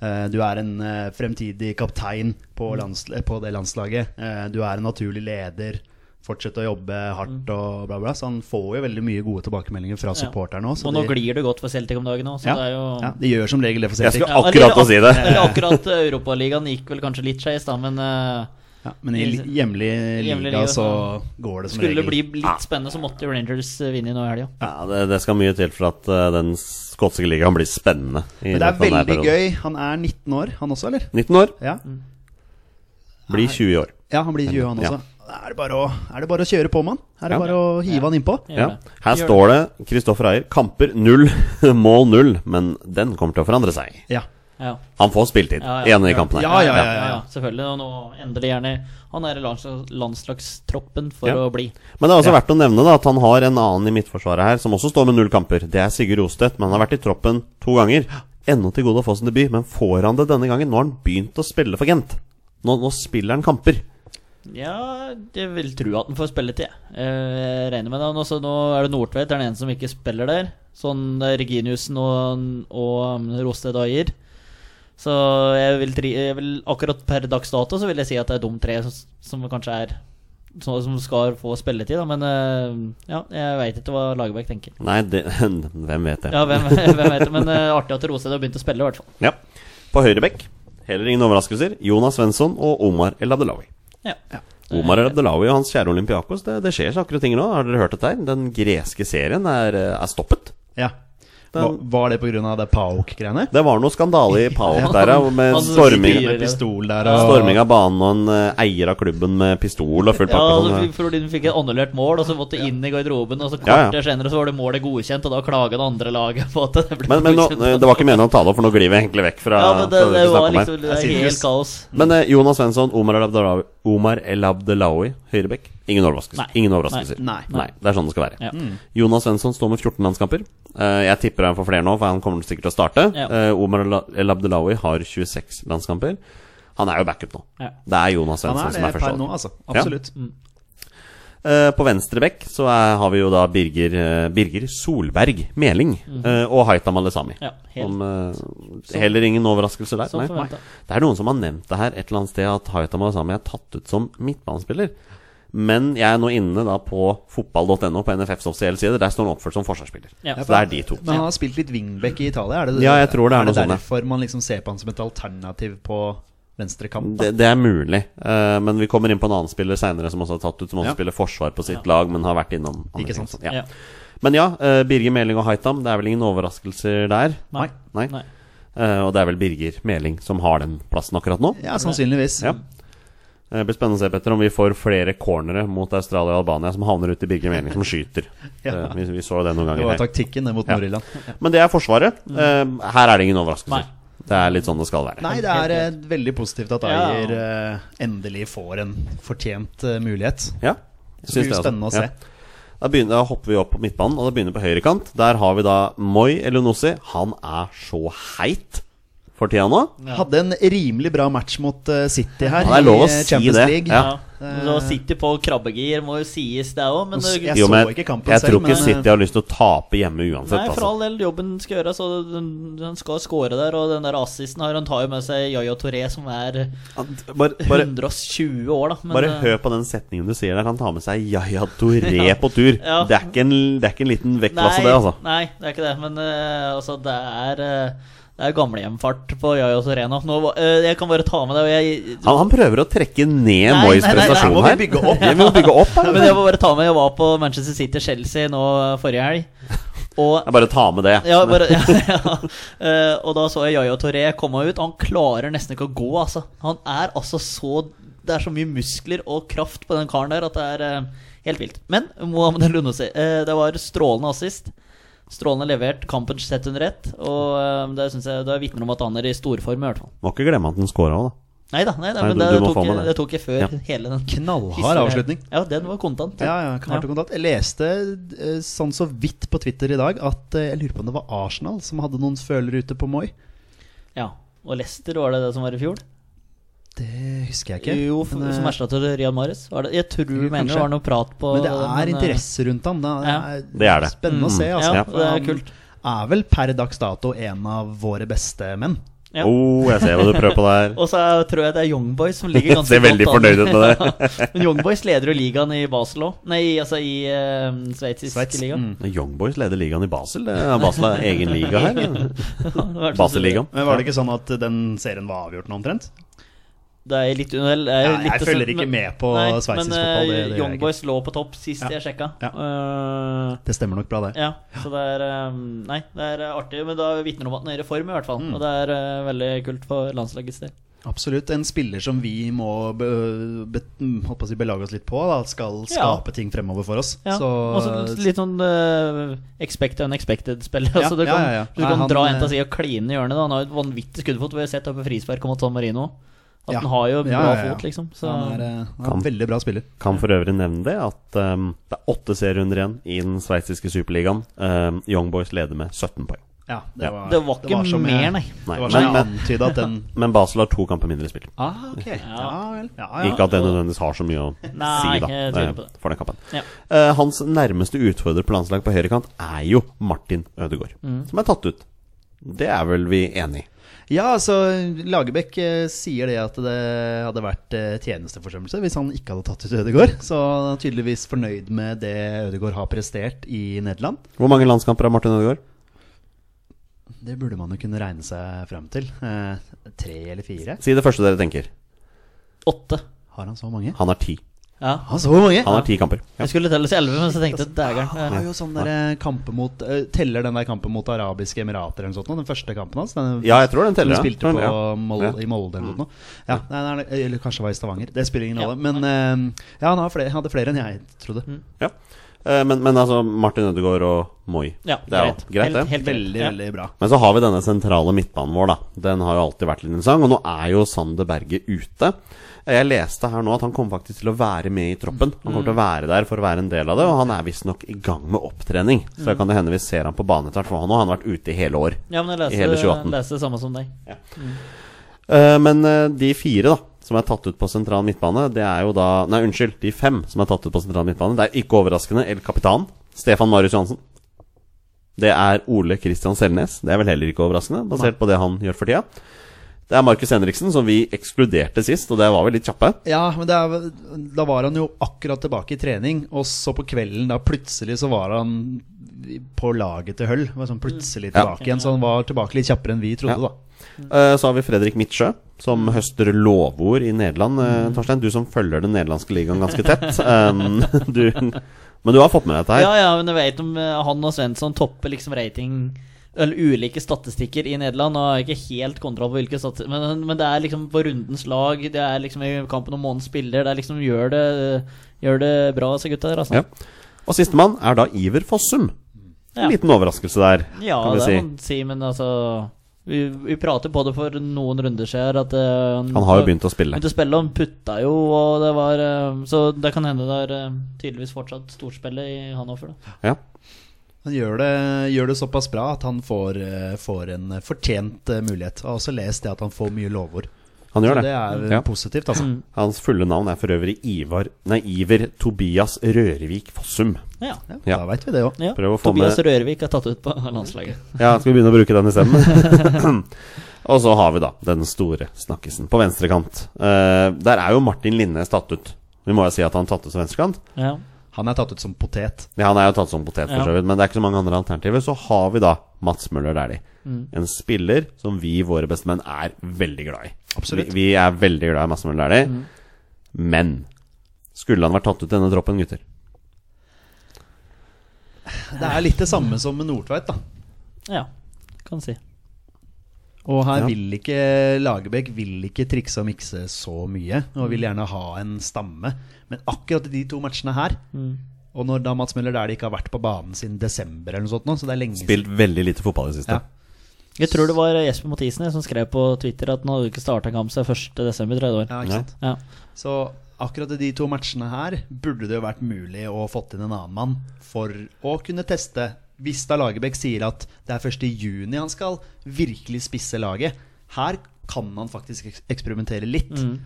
eh, du er en eh, fremtidig kaptein på,
Mm.
landsla på det landslaget. Eh, Du er en naturlig leder. Fortsett å jobbe
Mm.
hardt og bla, bla. Så han får jo veldig mye gode tilbakemeldinger fra supporterne òg.
Og nå glir det godt for Celtic om dagen òg, så
ja,
det er jo
ja, de gjør som regel det for
Jeg
Celtic.
skulle akkurat
eller
å si det.
ak- Eller akkurat eh, Europaligaen gikk vel kanskje litt skeis, da, men eh,
Ja, men i li- hjemlig
Hjemlig
liga
liga,
så går det som
skulle det
regel.
bli litt spennende, så måtte jo Rangers eh, vinne nå i helga.
Ja, det, det skal mye til for at eh, den skotske ligaen blir spennende.
Men det er
i
Sånn
løpet av denne
veldig
perioden.
gøy. Han er 19 år, han også, eller?
19 år,
Ja,
blir 20 år.
ja han blir 20 han
Ja.
også. Er det, bare å, er det bare å kjøre på med han? Er det
Ja.
bare å hive han innpå?
Gjør
Ja.
det.
Her
Gjør
står det Kristoffer Ayer, kamper null, (laughs) mål null, men den kommer til å forandre seg.
Ja.
Ja.
Han får spilletid,
Ja,
i
ja.
en av de kampene.
Ja, ja, ja, ja.
Selvfølgelig. Og nå endelig gjerne Han er i landslags, landslagstroppen for
Ja.
å bli.
Men det er også
Ja.
verdt å nevne da, at han har en annen i midtforsvaret her som også står med null kamper. Det er Sigurd Rostedt, men han har vært i troppen to ganger. Ennå til gode å få sin debut, men får han det denne gangen? Nå har han begynt å spille for Gent. Nå, nå spiller han kamper.
Ja, jeg vil tro at han får spilletid. jeg. Eh, Jeg regner med det. Og Også, nå er det Nordtveit, det er den ene som ikke spiller der. Sånn eh, Reginiussen og, og um, Rosted Ayer. Så jeg vil, tri, jeg vil akkurat per dags dato så vil jeg si at det er de tre som, som kanskje er som, som skal få spilletid, da. Men eh, ja, jeg veit ikke hva Lagerbäck tenker.
Nei, det, (laughs) hvem vet det.
Ja, hvem, (laughs) hvem vet det, men eh, artig at Rosted har begynt å spille, i hvert fall.
Ja. På høyrebekk, heller ingen overraskelser, Jonas Svensson og Omar El Abdelawi.
Ja.
Omar El Abdelawi og hans kjære Olympiakos, det, det skjer saker og ting nå. Har dere hørt dette her? Den greske serien er, eh, er stoppet.
Ja. Hva, var det pga. det Paok-greiene?
Det var noe skandale i
(laughs)
Paok der, ja, med
Altså,
storming,
sier-
Med pistol der og
storming av banen og en eh, eier av klubben med pistol og full
Ja,
pakke. og
altså,
sånn,
f- fordi hun fikk et annullert mål, og så måtte inn i garderoben. Og så
Ja, ja.
kvarter senere så var det målet godkjent, og da klaga det andre laget på at det ble
Men, men
(laughs)
nå, det
godkjent.
var ikke meningen å ta det opp, for nå glir vi egentlig vekk fra
ja, men det,
fra
det
vi snakket om
var
her.
liksom det er helt kaos.
Men eh, Jonas Svensson, Omar El Abdelawi, Omar El Abdelawi høyrebekk. Ingen overraskelser.
Nei.
Ingen overraskelser.
Nei.
Nei, Det er sånn det skal være.
Ja.
Jonas Svensson står med 14 landskamper. Eh, jeg tipper han får flere nå, for han kommer sikkert til å starte.
Ja.
Eh, Omar El- El Abdelawi har 26 landskamper. Han er jo backup nå.
Ja.
Det er Jonas
Han
Svensson
er
som
det
er
per nå,
førstevalg.
altså. Absolutt.
Eh, på venstre bekk så er, har vi jo da Birger, eh, Birger Solberg Meling eh, og Haitam Alesami.
Mhm. Ja, helt-
Som, eh, heller ingen overraskelser der.
som
nei.
forventet.
Det er noen som har nevnt det her et eller annet sted, at Haitam Alesami er tatt ut som midtbanespiller. Men jeg er nå inne da på fotball.no på NFFs offisielle side. Der står han oppført som forsvarsspiller.
Ja.
Så det er de to.
Men han har spilt litt wingback i Italia? Er det,
Ja, jeg tror det er noe sånt, ja.
derfor man liksom ser på han som et alternativ på venstre kant? Da?
Det, det er mulig, eh, men vi kommer inn på en annen spiller seinere som også er tatt ut, som også
Ja.
spiller forsvar på sitt lag, men har vært innom andre
Ikke sant.
ting. Ja.
Ja.
Men ja, eh, Birger Meling og Haitam, det er vel ingen overraskelser der?
Nei.
Nei.
Nei.
Eh, og det er vel Birger Meling som har den plassen akkurat nå.
Ja, sannsynligvis.
Ja. Eh, Det blir spennende å se Petter om vi får flere cornere mot Australia og Albania som havner ut i Birger Meling som skyter.
(laughs) Ja.
Eh, vi, vi så det noen
Det
ganger
var
her.
taktikken det, mot
Ja.
Nord-Irland.
Men det er Forsvaret. Eh, her er det ingen overraskelser.
Nei.
Det er litt sånn det skal
Mm.
være.
Nei, det er eh, veldig positivt at
Ja.
Ayer eh, endelig får en fortjent eh, mulighet.
Ja,
Det blir
også.
spennende å se.
Ja. Da, begynner, da hopper vi opp på midtbanen, og da begynner vi på høyrekant. Der har vi da Moi Elionossi. Han er så heit for tida nå.
Hadde en rimelig bra match mot eh, City her
Ja, det er lov å
i eh,
si
Champions
det.
League.
Ja.
Ja.
Så sitter på krabbegir, må jo sies det òg, men eh,
Jeg
det-
så
men
ikke kampen
jeg
selv,
tror ikke
men, eh,
City har lyst til å tape hjemme uansett.
Nei, for
altså.
all del, jobben skal gjøres, og den- den skal score der. Og den der assisten her, han tar jo med seg Yaya Touré, som er
Bare,
(clears throat)
bare,
120 år, da. Men,
bare
eh,
hør på den setningen du sier der. Han tar med seg Yaya Touré på tur.
(laughs) Ja.
Det, er ikke en, det er ikke en liten vektklasse,
nei,
det, altså.
Nei, det er ikke det. Men eh, altså, det er uh, Det er gamlehjemfart på Yaya Serena. Nå, var- eh, jeg kan bare ta med det. og Jeg,
Han, han prøver å trekke ned
Nei,
Mois
nei, nei, nei,
prestasjon
må
her.
vi bygge
(laughs)
opp?
Ja, vi må bygge opp her.
(laughs) men jeg må bare ta med Jeg var på Manchester City-Chelsea nå eh, forrige helg. Og
Jeg bare ta med det.
ja, bare, (laughs) ja, ja. Eh, og da så jeg Yaya Toré komme ut. Han klarer nesten ikke å gå, altså. Han er altså så Det er så mye muskler og kraft på den karen der at det er eh, helt vilt. Men Mohammed El Lunossi, eh, det var strålende assist. Strålende levert, kampen sett under ett. Og eh, det synes jeg det vitner om at han er i storform, i hvert fall.
Må ikke glemme at den scora òg, da.
Neida, nei da,
Nei,
men
du-
det,
du må
tok,
få med
jeg-
det.
det tok jeg før
Ja.
hele den
Knallhard
historien.
avslutning.
Ja, den var kontant.
Ja, ja, klart og kontant. Jeg leste eh, sånn så vidt på Twitter i dag at eh, jeg lurer på om det var Arsenal som hadde noen følere ute på Moi.
Ja. Og Leicester, var det det som var i fjor?
Det husker jeg ikke.
Jo, f-
men, eh,
som erstatter Riyad Mahrez. Var det? Jeg tror
Jo,
mener det
kanskje.
var noe prat på
men det
men,
er
eh,
interesse rundt han. Det er,
ja.
Det er det. Mm.
Spennende å se. Altså.
Ja, det er kult.
Han er vel per dags dato en av våre beste menn.
Ja.
Oh, jeg ser hva du prøver på der.
(laughs) Og så er- tror jeg det er Young Boys som
(laughs)
ligger ganske
Ser veldig
godt an.
fornøyd ut med det.
(laughs) Ja. Men Young Boys leder jo ligaen i Basel òg. Nei, altså i eh, sveitsisk
Sveits.
(laughs) liga.
Mm.
Young Boys leder ligaen i Basel. Det er Basel er egen liga her.
(laughs)
Basel-ligaen.
Men var det ikke sånn at den serien var avgjort nå, omtrent?
Det er litt unnell. det er jo
Ja, jeg
litt det
følger
som-
ikke med på
Nei,
sveitsisk
men, eh,
fotball, det- det gjør jeg
Young
ikke.
Boys lå på topp sist jeg sjekka. Eh,
Det stemmer nok bra, det.
Ja, så det er eh, Nei, det er eh, artig, men da vitner det om at den er i form, i
Mm.
hvert fall. Og det er eh, veldig kult for landslagets del.
Absolutt. En spiller som vi må be, be, holdt på å si belage oss litt på, da, skal
Ja.
skape ting fremover for oss.
Ja.
Så
Og så litt sånn uh, expect and (laughs) unexpected-spill.
Ja,
altså, du
ja,
kan,
ja, ja.
Du
Nei,
kan
han,
dra en
eh,
til side og kline i hjørnet. Da. Han har jo et vanvittig skuddfot. Vi har sett oppe frispark mot San Marino. At
Ja.
han har jo bra
Ja, ja, ja.
fot, liksom. Så
han er, eh, han er
Kan.
en veldig bra spiller.
Kan for øvrig nevne det at ehm, det er åtte serierunder igjen i den sveitsiske superligaen. Um, Young Boys Ehm, leder med 17 poeng.
Ja,
Ja.
eh, det var,
Det var ikke
som jeg-
mer, nei.
Nei,
Det var
men-
som jeg antyda at den
(laughs)
Men Basel har to kamper mindre spilt.
Ah, ok. Ja vel. Ja, ja.
Ikke at det nødvendigvis har så mye å
Ah, Nei,
si da
jeg tviler på
eh, for den kampen.
Ja.
Eh, hans nærmeste utfordrer på landslag på høyrekant er jo Martin Ødegaard,
Mm.
som er tatt ut. Det er vel vi enig i.
Ja, altså Lagerbäck eh, sier det at det hadde vært eh, tjenesteforsømmelse hvis han ikke hadde tatt ut Ødegaard. Så han er tydeligvis fornøyd med det Ødegaard har prestert i Nederland.
Hvor mange landskamper har Martin Ødegaard?
Det burde man jo kunne regne seg fram til. Eh, tre eller fire?
Si det første dere tenker.
Åtte.
Har han så mange?
Han har ti.
Ja.
Har han så mange?
Han har ti kamper. Ja.
Jeg skulle telle til elleve, men så tenkte jeg
Han
dægeren.
har jo sånn der eh, kampe mot eh, Teller den der kampen mot Arabiske Emirater eller noe sånt? nå, Den første kampen hans? Den
Ja, jeg tror den teller,
Som
ja.
de spilte på
Ja.
Mol
Ja.
i Molde eller noe. Ja, nei, nei, nei, eller kanskje det var i Stavanger. Det spiller ingen rolle. Men eh, ja, han har flere, hadde flere enn jeg trodde.
ja. Eh, Men, men altså, Martin Ødegaard og Moi.
Ja,
det er jo greit, det.
Helt, helt
Veldig,
greit.
veldig bra.
Men så har vi denne sentrale midtbanen vår, da. Den har jo alltid vært litt interessant. Og nå er jo Sander Berge ute. Jeg leste her nå at han kommer faktisk til å være med i troppen. Han kommer til å være der for å være en del av det, og han er visstnok i gang med opptrening. Så kan det hende vi ser han på banen etter hvert, for han har han vært ute i hele år.
Ja. ja, men
I
jeg
hele
leste,
2018.
leste det samme som deg.
Eh, Men eh, de fire da som er tatt ut på sentral midtbane, det er jo da Nei, unnskyld. De fem som er tatt ut på sentral midtbane, det er ikke overraskende El Kapitan. Stefan Marius Johansen. Det er Ole Kristian Selnes. Det er vel heller ikke overraskende, basert på det han gjør for tida. Det er Markus Henriksen, som vi ekskluderte sist, og det var vi litt kjappe.
Ja, men det er, da var han jo akkurat tilbake i trening, og så på kvelden da plutselig så var han på laget til Høll. Var sånn plutselig
Mm. Ja.
tilbake igjen, så han var tilbake litt kjappere enn vi trodde,
Ja.
da.
Eh, Så har vi Fredrik Midtsjø, som høster lovord i Nederland. eh, Torstein, du som følger den nederlandske ligaen ganske tett. Um, (laughs) du, men du har fått med deg dette her?
Ja, ja, men jeg vet om eh, han og Svensson topper liksom rating Eller ulike statistikker i Nederland. Og jeg har ikke helt kontroll på hvilke statistikker men, men det er liksom på rundens lag, det er liksom i kampen om månedens spiller. Det er liksom gjør det, gjør det bra, disse gutta der, altså.
Ja. Og sistemann er da Iver Fossum. En
Ja.
liten overraskelse der,
Ja,
kan vi
det
si.
må man si, men altså vi, vi prater på det for noen runder siden at eh,
Han har jo begynt å spille.
Begynte å spille, og han putta jo, og det var eh, Så det kan hende det er eh, tydeligvis fortsatt storspillet i Hanoffer, da.
Ja.
Han gjør det, gjør det såpass bra at han får, eh, får en fortjent eh, mulighet. Jeg har også lest det at han får mye lovord.
Han
Så
gjør det.
det er
Ja.
positivt, altså.
Hans fulle navn er for øvrig Ivar Nei, Iver Tobias Rørevik Fossum.
Ja.
Ja.
Da veit vi det òg.
ja.
Prøv å få
Tobias
med-
Rørvik er tatt ut på landslaget.
Ja, skal vi begynne å bruke den isteden? Og så har vi da den store snakkisen på venstrekant. Eh, der er jo Martin Linnes tatt ut. Vi må jo si at han er tatt ut som venstrekant.
Ja.
Han er tatt ut som potet.
Ja, han er jo tatt som potet, for
Ja.
så vidt, men det er ikke så mange andre alternativer. Så har vi da Mats Møller Dæhlie.
Mm.
En spiller som vi, våre bestemenn, er veldig glad i.
Absolutt. Mm.
Vi, vi er veldig glad i Mats Møller Dæhlie. Men skulle han vært tatt ut i denne troppen, gutter?
Det er litt det samme som med Nordtveit, da.
ja. Kan si.
Og her
Ja.
vil ikke Lagerbäck vil ikke trikse og mikse så mye, og vil gjerne ha en stamme. Men akkurat i de to matchene her, og når da Mats Møller Dæhlie ikke har vært på banen siden desember, eller noe sånt nå, så det er lenge
Spilt veldig lite fotball i det siste.
Ja.
Jeg tror det var Jesper Mathisen jeg, som skrev på Twitter at han hadde ikke starta kamp siden 1.12. i tredje år.
Ja, ikke sant?
Ja.
Så akkurat i de to matchene her burde det jo vært mulig å fått inn en annen mann for å kunne teste. Hvis da Lagerbäck sier at det er først i juni han skal virkelig spisse laget, her kan han faktisk eks- eksperimentere litt.
Mm.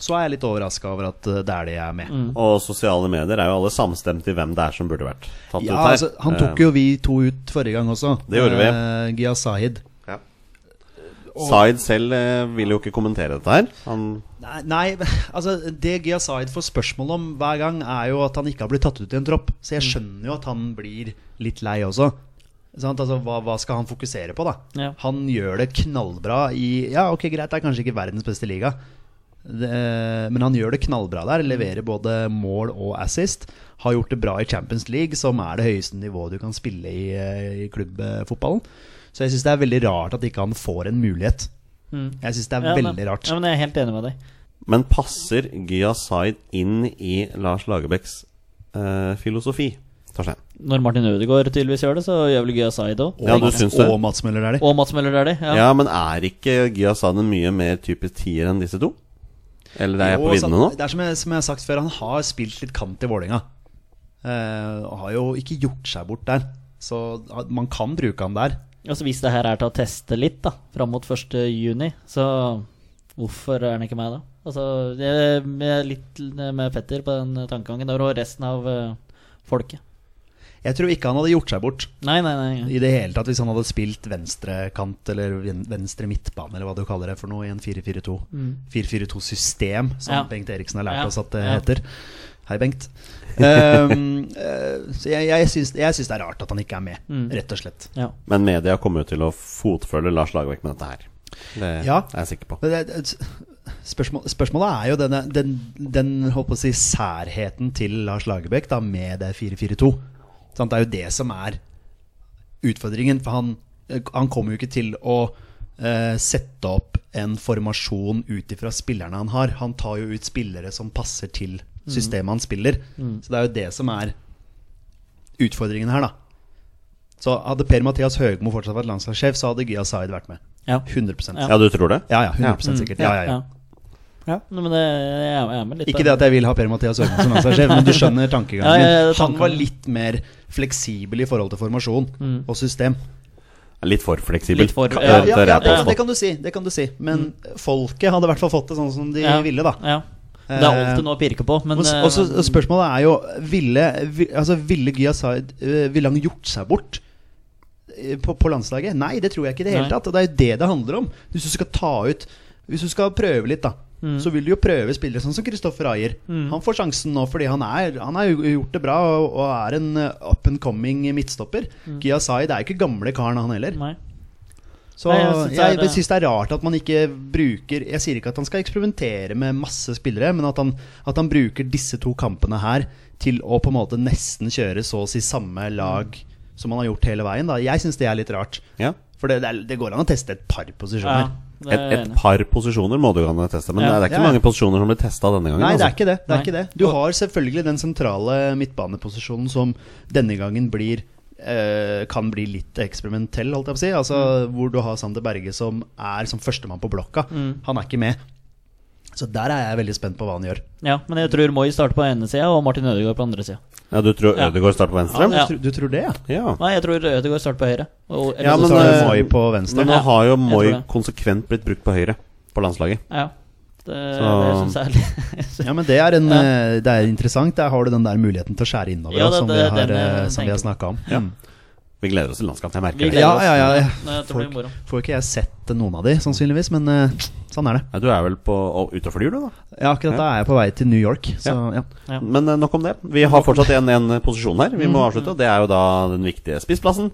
Så er jeg litt overraska over at eh, Dæhlie er med.
Og sosiale medier er jo alle samstemte i hvem det er som burde vært tatt ut
Ja,
her.
altså, han tok jo vi to ut forrige gang også.
Det gjorde vi.
Eh, Gia Sahid.
ja. Zaid selv eh, vil jo ikke kommentere dette her. Han,
Nei, nei, (laughs) altså det Gia Zaid får spørsmål om hver gang, er jo at han ikke har blitt tatt ut i en tropp. Så
Mm.
jeg skjønner jo at han blir litt lei også. Sant? Altså, hva, hva skal han fokusere på, da?
Ja.
Han gjør det knallbra i Ja, ok, greit, det er kanskje ikke verdens beste liga, det, eh, men han gjør det knallbra der. Leverer både mål og assist. Har gjort det bra i Champions League, som er det høyeste nivået du kan spille i, eh, i klubbfotballen. Så jeg syns det er veldig rart at ikke han får en mulighet. Jeg syns det er
Mm. Ja, men-
veldig rart.
Ja, men jeg er helt enig med deg.
men passer Gya Zaid inn i Lars Lagerbäcks eh, filosofi? Torstein.
Når Martin Ødegaard tydeligvis gjør det, så gjør vel Gya Zaid òg.
Ja, du syns det?
Og Mats Møller Dæhlie.
Og Mats Møller Dæhlie.
Ja.
Ja.
men er ikke Gya Zaid en mye mer typisk tier enn disse to? Eller er jeg på
Jo, altså- så-
viddene nå?
Det er som jeg, som jeg har sagt før, han har spilt litt kant i Vålerenga. Eh, og har jo ikke gjort seg bort der. Så ah, man kan bruke han der.
Altså Hvis det her er til å teste litt da fram mot 1.6, så hvorfor er den ikke med da? Altså Jeg jeg er litt eh, med Petter på den tankegangen der, og resten av eh, folket.
Jeg tror ikke han hadde gjort seg bort
Nei, nei, nei.
i det hele tatt hvis han hadde spilt venstrekant eller ven- venstre midtbane, eller hva du kaller det for noe, i en 4-4-2. 4-4-2-system, som
Ja.
Bengt Eriksen har lært
Ja,
oss at det
ja.
heter. Hei, Bengt. (laughs) Ehm, eh, så jeg, jeg, syns, jeg syns det er rart at han ikke er med, rett og slett.
Ja.
Men media kommer jo til å fotfølge Lars Lagerbäck med dette her. Det
Ja.
er jeg sikker på.
Men det- det- Spørsmål, spørsmålet er jo denne, den, den holdt på å si, særheten til Lars Lagerbäck da, med det 4-4-2. Sant? Det er jo det som er utfordringen. For han, han kommer jo ikke til å eh, sette opp en formasjon ut ifra spillerne han har. Han tar jo ut spillere som passer til systemet han spiller. Så det er jo det som er utfordringen her, da. Så hadde Per-Mathias Høgmo fortsatt vært landslagssjef, så hadde Gya Zaid vært med.
ja.
100
Ja.
Ja, du tror det?
ja, ja, 100
Mm.
sikkert. Ja, ja, ja.
Ja, Nei, men det, jeg er- jeg er med litt.
Ikke det at jeg vil ha Per-Mathias Øren som landslagssjef, men du skjønner
Ja,
tankegangen.
ja, ja,
Han
tanken.
var litt mer fleksibel i forhold til formasjon og system.
Litt for fleksibel.
Litt for-
Ka-
ja,
eh,
Ja,
tør
ja,
jeg
det,
påstå.
det kan du si, det kan du si. Men folket hadde i hvert fall fått det sånn som de
Ja,
ville, da. Eh,
Ja. Det er alltid noe å pirke på, men
Og s-
eh,
og så- og spørsmålet er jo Ville, vi- altså, ville Gyasaid Ville han gjort seg bort eh, på, på landslaget? Nei, det tror jeg ikke i det hele
Nei.
tatt. Og det er jo det det handler om. Hvis du skal ta ut Hvis du skal prøve litt, da.
Mm.
Så vil du jo prøve spillere sånn som Kristoffer Ayer. Han får sjansen nå fordi han, er, han har jo gjort det bra og, og er en eh, up and coming midtstopper. Mm. Gyasaid er jo ikke gamle karen, han heller.
Nei.
Så
Nei,
jeg
jeg synes det er-
syns det, er rart at man ikke bruker Jeg sier ikke at han skal eksperimentere med masse spillere, men at han, at han bruker disse to kampene her til å på en måte nesten kjøre så å si samme lag som han har gjort hele veien. Da. Jeg syns det er litt rart.
Ja.
For det, det, er, det går an å teste et par
Ja,
posisjoner.
det
Et,
er jeg
et
enig i.
par posisjoner må du kan teste, men det
Ja.
er
Ja,
ikke
ja.
mange posisjoner som blir testa denne gangen.
Nei, det er
altså.
ikke det. det, er
Nei.
ikke det. Du har selvfølgelig den sentrale midtbaneposisjonen som denne gangen blir eh, kan bli litt eksperimentell, holdt jeg på å si. Altså, Hvor du har Sander Berge som er som førstemann på blokka. Han er ikke med. Så der er jeg veldig spent på hva han gjør.
Ja, men jeg tror Moi starter på ene sida og Martin Ødegaard på andre sida.
Ja, Du tror
Ja.
Ødegaard starter på venstre?
Du,
Ja.
tr- du tror det, ja?
Ja.
Nei, jeg tror Ødegaard starter på høyre. Og, eller
Ja,
så
men,
så
starter-
tar
eh,
du Moi på venstre.
Men nå har jo
jeg
Moi
tror det.
konsekvent blitt brukt på høyre på landslaget.
ja. Det,
Så-
det syns jeg er litt
Ja, men det er, en,
Ja.
eh, det er interessant. Der har du den der muligheten til å skjære innover, da,
Ja, det-
som,
det-
vi har,
den, eh,
eh, som vi har
tenker jeg.
snakka om.
Ja. Vi gleder oss til landskamp, jeg
Vi
merker det.
gleder
Ja,
oss.
ja, ja, ja.
Nei, jeg tror det blir moro.
Får ikke jeg sett noen av de, sannsynligvis, men eh, sånn er det.
Ja, du er vel på, og, ute og flyr, du, da?
Ja, akkurat da er jeg på vei til New York, så ja.
Ja.
Men eh, nok om det. Vi har fortsatt en, en posisjon her. Vi må avslutte. Det er jo da den viktige spissplassen.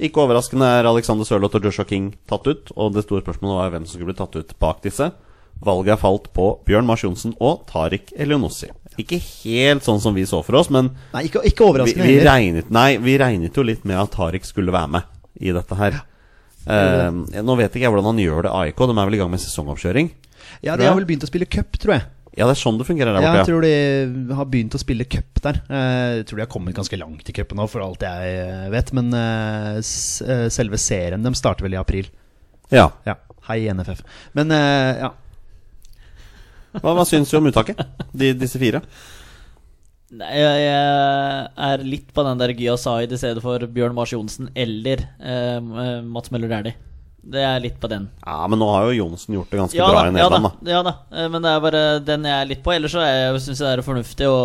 Ikke overraskende er Alexander Sørloth og Joshua King tatt ut. Og det store spørsmålet var jo hvem som skulle bli tatt ut bak disse. Valget er falt på Bjørn Mars Johnsen og Tariq Elionossi. Ikke helt sånn som vi så for oss, men
Nei, ikke, ikke
vi,
overraskende.
vi,
heller.
regnet, nei, vi regnet jo litt med at Tariq skulle være med i dette her. Eh, nå vet ikke jeg hvordan han gjør det i AIK. De er vel i gang med sesongoppkjøring?
Ja,
Tror
de har
jeg.
vel begynt å spille cup, tror jeg.
Ja, det er sånn det fungerer der
Ja,
borte.
jeg tror de har begynt å spille cup der. Eh, Jeg tror de har kommet ganske langt i cupen nå, for alt jeg eh, vet. Men eh, s- eh, selve serien dem starter vel i april.
Ja.
Ja, Hei, NFF. Men eh, ja.
Hva, hva syns du om uttaket? De, disse fire?
Nei, jeg, jeg er litt på den der Gyasai i stedet for Bjørn Mars Johnsen eller eh, Mats Møller Dæhlie. Det er litt på den.
Ja, men nå har jo Johnsen gjort det ganske
Ja
bra
da,
i
ja da,
Nederland, da.
ja da. Eh, Men det er bare den jeg er litt på. Ellers så syns jeg det er fornuftig å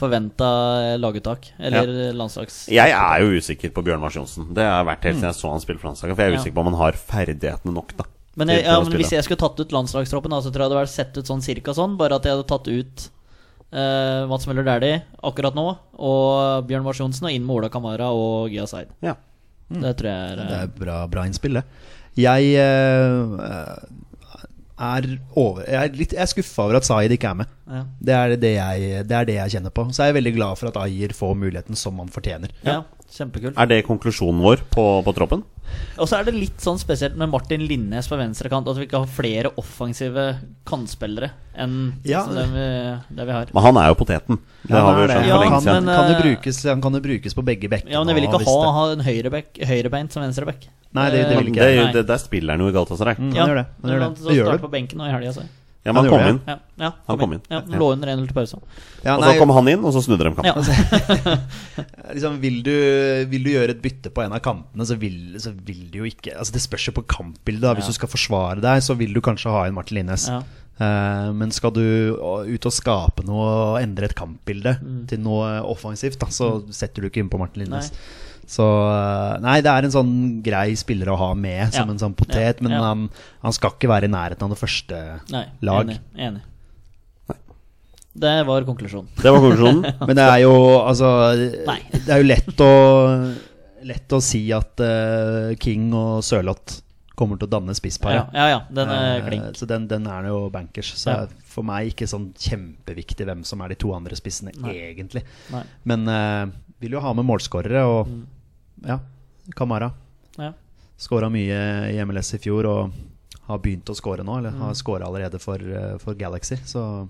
forvente eh, laguttak eller eh, landslags...
Jeg er jo usikker på Bjørn Mars Johnsen. Det har jeg vært helt siden jeg så han spille for landslaget. For jeg er
Ja.
usikker på om han har ferdighetene nok, da.
Men,
til-
jeg,
til
ja,
å
men
spille.
hvis jeg skulle tatt ut landslagstroppen, da, så tror jeg det hadde vært sett ut sånn cirka sånn. Bare at jeg hadde tatt ut eh, Mats Møller Dæhlie akkurat nå, og Bjørn Mars Johnsen, og inn med Ola Kamara og Gya Zaid.
ja.
Det tror jeg er,
Mm. Det
eh,
er bra, bra innspill, det. Jeg eh, er over Jeg er, litt, jeg er skuffa over at Zaid ikke er med.
eh, ja.
Det er det, jeg, det er det jeg kjenner på. Så er jeg veldig glad for at Ayer får muligheten som han fortjener.
ja. Kjempekult.
Er det konklusjonen vår på, på troppen?
Og så er det litt sånn spesielt med Martin Linnes på venstrekant, at vi ikke har flere offensive kantspillere enn
Ja.
som det, vi, det vi har.
Men han er jo poteten. Det
Ja,
har vi jo
det er
skjønt
det.
Ja,
for lenge
han,
siden.
men-
kan jo
eh,
brukes, han kan jo brukes på begge bekkene.
Ja, men jeg vil ikke
hvis
ha,
Ah, det-
ha en høyrebekk, høyrebeint som venstreback.
Nei, det, det vil
Men
ikke
det, er
jeg.
jo-
Nei.
det, der spiller han jo i Galatasaray.
Mm,
Ja,
han gjør det. Han gjør det.
Han
Det gjør
starter
det.
på benken nå i helga, så.
Ja, men
Han
han kom
gjorde
inn.
Ja, ja,
Han kom inn.
Ja,
Ja.
Lå under 1-0 til pause.
Ja,
Og
nei,
så kom han inn, og så snudde de kampen.
Ja.
Altså, liksom, vil, du, vil du gjøre et bytte på en av kampene, så vil, så vil du jo ikke altså, Det spørs jo på kampbildet. Da. Hvis du skal forsvare deg, så vil du kanskje ha inn Martin Linnes.
Ja.
Eh, men skal du å, ut og skape noe og endre et kampbilde
Mm.
til noe offensivt, da, så setter du ikke innpå Martin Linnes. Så eh, Nei, det er en sånn grei spiller å ha med som
Ja.
en sånn potet,
Ja.
men
Ja.
Han, han skal ikke være i nærheten av det første
(laughs) Nei,
Lag.
enig. enig. Det var konklusjonen.
Det var konklusjonen. (laughs)
Men det er jo altså
Nei.
Det er jo lett å Lett å si at eh, King og Sørloth kommer til å danne
Ja,
spissparet.
ja, ja den er
Eh,
klink.
Så den, den er jo bankers. Så
Ja.
er for meg ikke sånn kjempeviktig hvem som er de to andre spissene,
Nei.
egentlig.
Nei.
Men eh, vil jo ha med målskårere og
Mm.
Ja, Kamara.
Ja.
Skåra mye i MLS i fjor og har begynt å skåre nå, eller
Mm.
har skåra allerede for, eh, for Galaxy, så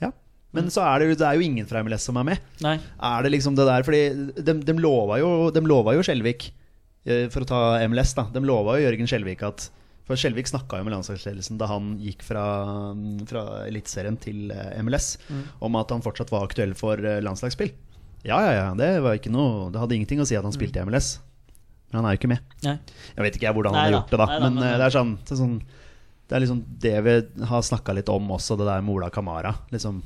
Ja.
Mm.
Men så er det jo, det er jo ingen fra MLS som er med.
Nei.
Er det liksom det der Fordi de, de lova jo De lova jo Skjelvik eh, For å ta MLS da De lova jo Jørgen Skjelvik at For Skjelvik snakket jo med landslagsledelsen Da han gikk fra, fra elitserien til eh, MLS Om at han fortsatt var aktuell for eh, landslagsspill Ja, ja, ja Det var ikke noe Det hadde ingenting å si at han spilte i MLS Men han er jo ikke med
Nei.
Jeg vet ikke jeg hvordan
Nei
han har
da,
gjort det da
nei da,
Men,
men-
eh, det er sånn Det er sånn det er liksom det vi har snakket litt om også, det der med Ola Kamara. Liksom,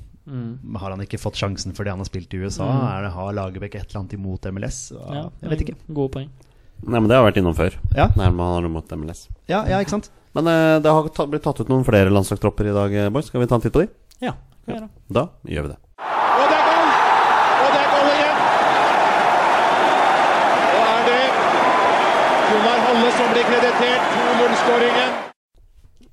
har han ikke fått sjansen fordi han har spilt i USA? Er det, har Lagerbäck et eller annet imot MLS? Mm. Ja,
Ja, Mm,
jeg vet ikke.
Gode poeng.
Nei, men det har vært innom før.
Ja.
Nærmere han mot MLS.
Ja, ja, ikke sant?
Men eh, det har ta, blitt tatt ut noen flere landslagstropper i dag, eh, boys. Skal vi ta en titt på de?
Ja. Kan gjøre.
Da gjør vi det.
Og det er goal! Og det er goal igjen. Og er det Gunnar Halle som blir kreditert 2-0-skåringen.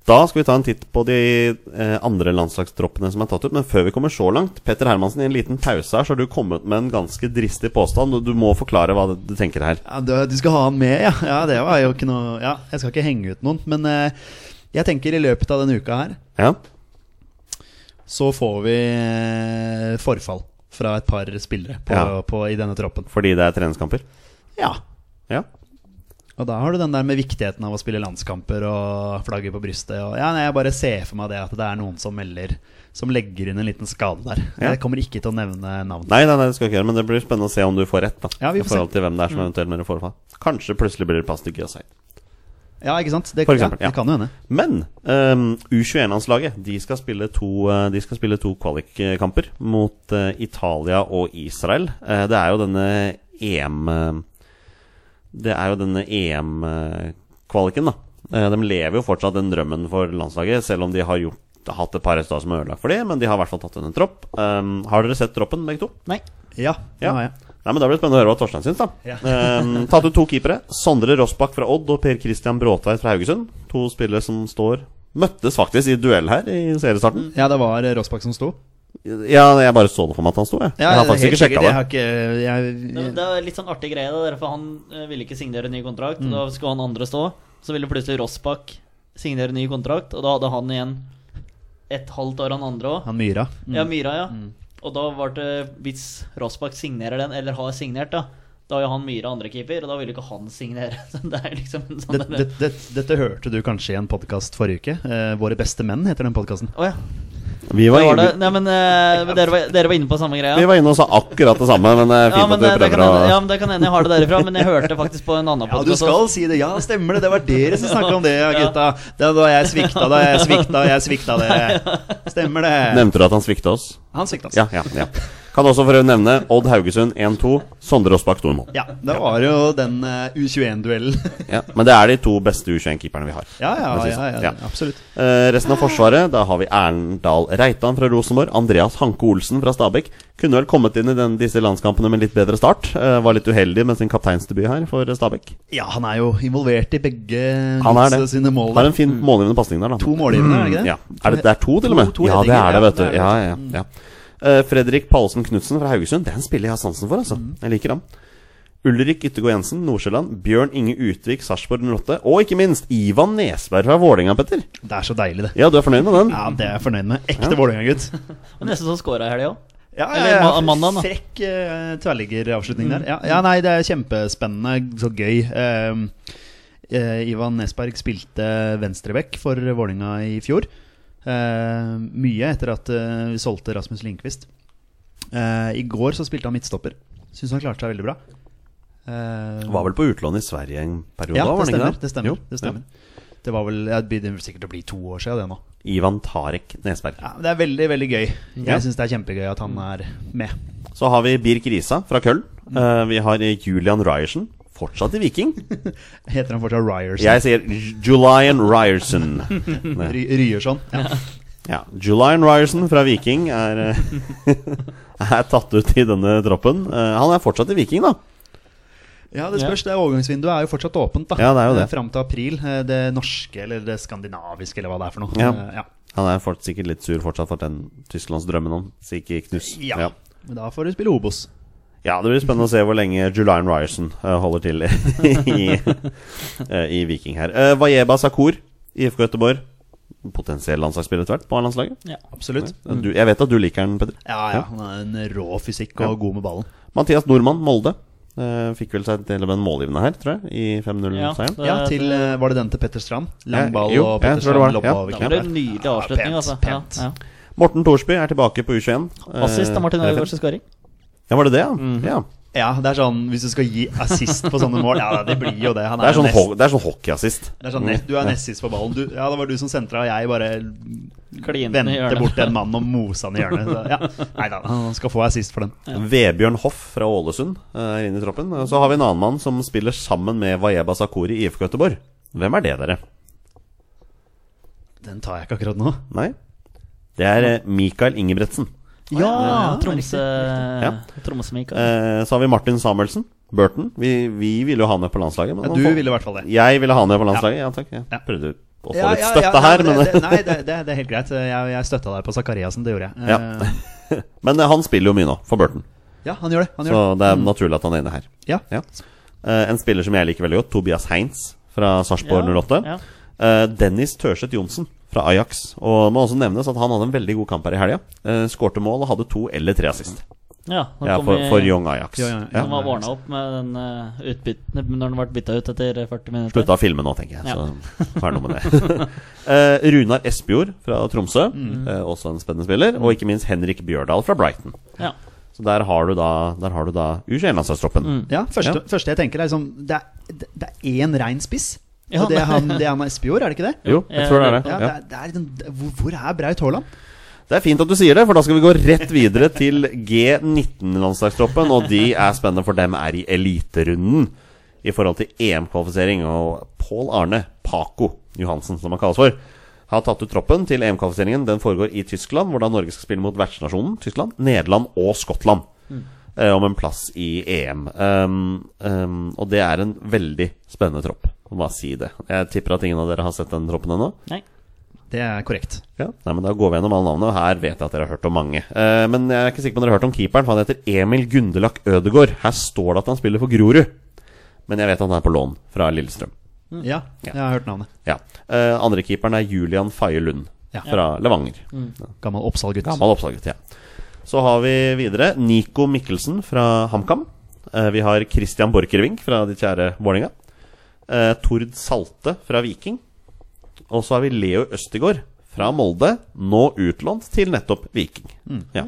Da skal vi ta en titt på de eh, andre landslagstroppene som er tatt ut. Men før vi kommer så langt, Petter Hermansen, i en liten pause her, så har du kommet med en ganske dristig påstand. og Du må forklare hva du tenker her.
Ja, du, du skal ha han med, ja. ja. Det var jo ikke noe Ja, jeg skal ikke henge ut noen. Men eh, jeg tenker i løpet av denne uka her
Ja,
så får vi eh, forfall fra et par spillere på,
Ja.
på, i denne troppen.
Fordi det er treningskamper?
Ja.
Ja.
Og da har du den der med viktigheten av å spille landskamper og flagget på brystet. Og ja, nei, jeg bare ser for meg det at det er noen som melder Som legger inn en liten skade der.
Ja.
Jeg kommer ikke til å nevne navn.
Nei, nei, nei, det skal jeg ikke gjøre, men det blir spennende å se om du får rett. da
Ja, vi
I
får se. Mm.
forhold til hvem det er som eventuelt melder forfall. Kanskje plutselig blir det plass til Gyasai.
Ja, ikke sant? Det,
For eksempel,
ja,
ja.
det kan jo hende.
Men ehm, U21-landslaget De skal spille to, eh, de skal spille to kvalikkamper mot eh, Italia og Israel. Eh, det er jo denne EM eh, Det er jo denne EM-kvaliken, da. Eh, de lever jo fortsatt den drømmen for landslaget, selv om de har gjort hatt et par resultater som er ødelagt for det, men de har i hvert fall tatt inn en tropp. Ehm, har dere sett troppen, begge to?
Nei.
Ja, det
Ja.
har jeg.
Nei, men Da blir det spennende å høre hva Torstein syns. da
Ja.
(laughs) Ehm, Tatt ut to keepere. Sondre Rossbakk fra Odd og Per Christian Bråtveit fra Haugesund. To spillere som står Møttes faktisk i duell her i seriestarten.
Ja, det var Rossbakk som sto.
Ja, jeg bare så det for meg at han sto, jeg. jeg har faktisk
helt
ikke sjekka
sikkert.
det.
Jeg har ikke, jeg,
Det, det er litt sånn artig greie, da, der, for han eh, ville ikke signere ny kontrakt.
Mm.
og Da skulle han andre stå. Så ville plutselig Rossbakk signere ny kontrakt, og da hadde han igjen et halvt år, han andre òg.
han Myra.
Mm.
Ja, Myra, ja. Og da var det Hvis Rossbakk signerer den, eller har signert, da da har jo han Myra andre keeper, og da vil jo ikke han signere. (laughs) Så det er liksom en sånn
Det, det, det, dette hørte du kanskje i en podkast forrige uke. Eh, Våre beste menn heter den podkasten.
Å ja.
Vi
Det
var,
var det.
inne,
Nei, men eh, dere, var, dere var inne på samme greia.
vi var inne og sa akkurat det samme, men det er fint
ja, men,
at
eh,
du
det
prøver
kan
å
hende- ja, men det kan hende jeg har det derifra, men jeg hørte faktisk på en
(laughs) Ja,
annen
du
podcast
skal si det. Ja, stemmer det. Det var dere som snakka om det, ja, gutta. Det var da jeg svikta, da jeg svikta, jeg svikta dere. Stemmer det.
Nevnte du at han svikta oss?
Han svikta oss.
Ja, ja, ja. Kan også for å nevne Odd Haugesund 1-2. Sondre Rossbakk sto i mål.
Ja, det var jo den eh, U21-duellen.
Ja, men det er de to beste U21-keeperne vi har.
(laughs) Ja, ja,
Det synes
ja,
jeg.
ja, absolutt.
Eh, resten av Forsvaret, da har vi Erndal Reitan fra Rosenborg. Andreas Hanke Olsen fra Stabæk. Kunne vel kommet inn i den, disse landskampene med en litt bedre start. Eh, var litt uheldig med sin kapteinsdebut her for Stabæk.
Ja, han er jo involvert i begge
Han er det.
Leeds sine mål. Mm.
Har en fin målgivende pasning der, da.
To målgivende, er det ikke det?
Ja. Er det, det er to, til og med?
To- to
ja, det
redninger,
er
ja,
det, vet du.
det Mm. er det.
Ja, ja, ja. Eh, Fredrik Pallesen Knutsen fra Haugesund. Det er en spiller jeg har sansen for, altså.
Mm.
Jeg liker ham. Ulrik Yttergård Jensen, Nordsjøland. Bjørn Inge Utvik, Sarpsborg 08. Og ikke minst Ivan Nesberg fra Vålerenga, Petter.
Det er så deilig, det.
Ja, du er fornøyd med den?
Ja, Det er jeg fornøyd med. Ekte Vålerenga-gutt.
Og nesten som scora i helga òg.
Ja,
Eller ma- mandagen, da.
Frekk uh, tverrliggeravslutning der. Ja, ja, nei, det er kjempespennende. Så gøy. Ehm, eh, Ivan Nesberg spilte venstreback for Vålinga i fjor. eh, mye etter at eh, vi solgte Rasmus Lindqvist. Eh, I går så spilte han midtstopper. Syns han klarte seg veldig bra. Eh,
Var vel på utlån i Sverige en periode?
ja,
da, var
det
han ikke
stemmer. Det stemmer.
Jo,
det, stemmer. det var vel jeg begynner sikkert å bli to år siden det nå.
Ja. Ivan Tarek Nesberg.
Ja, men det er veldig, veldig gøy. Mm. Jeg
Ja.
syns det er kjempegøy at han er med.
Så har vi Birk Risa fra Köln.
Mm.
Eh, vi har Julian Ryerson, fortsatt i Viking.
Heter han fortsatt Ryerson?
Jeg sier J- Julian Ryerson.
(laughs) Ry- Ryerson. Ja.
Ja, Julian Ryerson fra Viking er, eh, (laughs) er tatt ut i denne troppen. Eh, han er fortsatt i Viking, da.
Ja, det spørs. Det overgangsvinduet er jo fortsatt åpent. da
Ja, det er jo det.
Fram til april. eh, Det norske eller det skandinaviske eller hva det er for noe.
Ja.
Eh, ja.
Han er fort, sikkert litt sur fortsatt for at den Tysklandsdrømmen hans ikke knus.
Ja. Men da får du spille Obos.
Ja, det blir spennende å se hvor lenge Julian Ryerson eh, holder til i, eh, i Viking her. Uh, Vajeba Sakur i IFK Göteborg. Potensiell landslagsspiller etter hvert på A-landslaget.
Ja.
Absolutt.
Eh, du- Jeg vet at du liker den, Petter.
Ja, ja. Han har en rå fysikk
Ja.
og god med ballen.
Mathias Nordmann, Molde. eh, fikk vel seg del av den målgivende her, tror jeg, i 5-0-seieren.
Ja,
Ja, til eh, Var det den til Petter Strand?
Ja,
Lang ball
jo,
og
jeg
Petter
tror det var
Strand
det.
lobba
Ja.
over
Da var det
keeper.
en nydelig
Ja,
avslutning,
pent,
altså.
pent.
Ja,
Morten Thorsby er tilbake på U21.
ja. Assist av Martin
Eh,
Ødegaards skåring.
Ja, var det det, ja? ja.
Ja, det er sånn Hvis du skal gi assist på sånne mål Ja, det blir jo det. Han
Det er sånn,
jo
ho det er sånn hockeyassist.
Det er sånn, nett- Du er nest sist på ballen. Du, ja, det var du som sentra, og jeg bare
Klinte i
vendte
hjørnet.
bort en mann og mosa han i hjørnet. Så,
(laughs)
ja. Nei da, han skal få assist for den.
Vebjørn Hoff fra Ålesund eh, er inne i troppen. Og Så har vi en annen mann som spiller sammen med Vajeba Sakuri i IFK Göteborg. Hvem er det, dere?
Den tar jeg ikke akkurat nå.
Nei? Det er eh, Mikael Ingebretsen.
Ja, Tromsø Tromsø-Mikael.
Eh, så har vi Martin Samuelsen. Burton. Vi, vi ville jo ha han med på landslaget. Men
Ja,
han
du
får-
ville i hvert fall det.
Jeg ville ha han med på landslaget, ja, takk. Jeg
Ja.
prøvde å få
Ja,
litt
ja,
støtte
ja, ja,
her, men
det, det, Nei, det, det, det er helt greit. Jeg, jeg støtta deg på Sakariassen, det gjorde jeg.
Ja.
Eh,
(laughs) Men eh, han spiller jo mye nå, for Burton.
ja han gjør det. Han gjør
Så det er naturlig at han er inne her.
det. Ja.
Ja. Eh, en spiller som jeg liker veldig godt, Tobias Heinz fra Sarpsborg 08.
Ja.
Eh, Dennis Tørseth Johnsen fra Ajax. Og det må også nevnes at han hadde en veldig god kamp her i helga. Uh, Skårte mål og hadde to eller tre assist.
Ja, nå
Ja,
kom
for,
vi-
for Young Ajax.
Ja, ja, ja.
Ja.
Den var ordna opp med den eh, utbytten når den ble bytta ut etter 40 minutter.
Slutta å filme nå, tenker
(laughs)
jeg. Så vær noe med det. (laughs) Eh, Runar Espejord fra Tromsø,
Mm.
eh, også en spennende spiller. Og ikke minst Henrik Bjørdal fra Brighton.
Ja.
Så der har du da, der har du da U21-landslagstroppen.
Ja, første,
Ja.
første jeg tenker er liksom Det er- det- det er én rein spiss.
Ja,
og det er han, det er han Espejord, er det ikke det?
Jo, jeg tror det er det.
Ja,
Ja.
Det er, det er, liksom- det- hvor, hvor er Braut Haaland?
Det er fint at du sier det, for da skal vi gå rett videre til G19-landslagstroppen. Og de er spennende, for dem er i eliterunden i forhold til EM-kvalifisering. Og Pål Arne Paco Johansen, som han kalles for, har tatt ut troppen til EM-kvalifiseringen. Den foregår i Tyskland, hvor da Norge skal spille mot vertsnasjonen Tyskland, Nederland og Skottland. eh, Om en plass i EM. Um, um, og det er en veldig spennende tropp. Må Bare si det. Jeg tipper at ingen av dere har sett den troppen ennå.
Nei.
Det er korrekt.
Ja, nei, men Da går vi gjennom alle navnene, og her vet jeg at dere har hørt om mange. Eh, men jeg er ikke sikker på om dere har hørt om keeperen, for han heter Emil Gundelak Ødegård. Her står det at han spiller for Grorud, men jeg vet at han er på lån fra Lillestrøm.
Ja, jeg har hørt navnet.
Ja. Eh, andre keeperen er Julian Faye Lund
Ja.
fra Levanger.
Gammel Oppsal-gutt.
Gammel oppslaget, ja. Så har vi videre Nico Mikkelsen fra HamKam. Eh, vi har Christian Borchgrevink fra ditt kjære Vålerenga. Eh, Tord Salte fra Viking. Og så har vi Leo Østegård fra Molde, nå utlånt til nettopp Viking.
Mm.
Ja.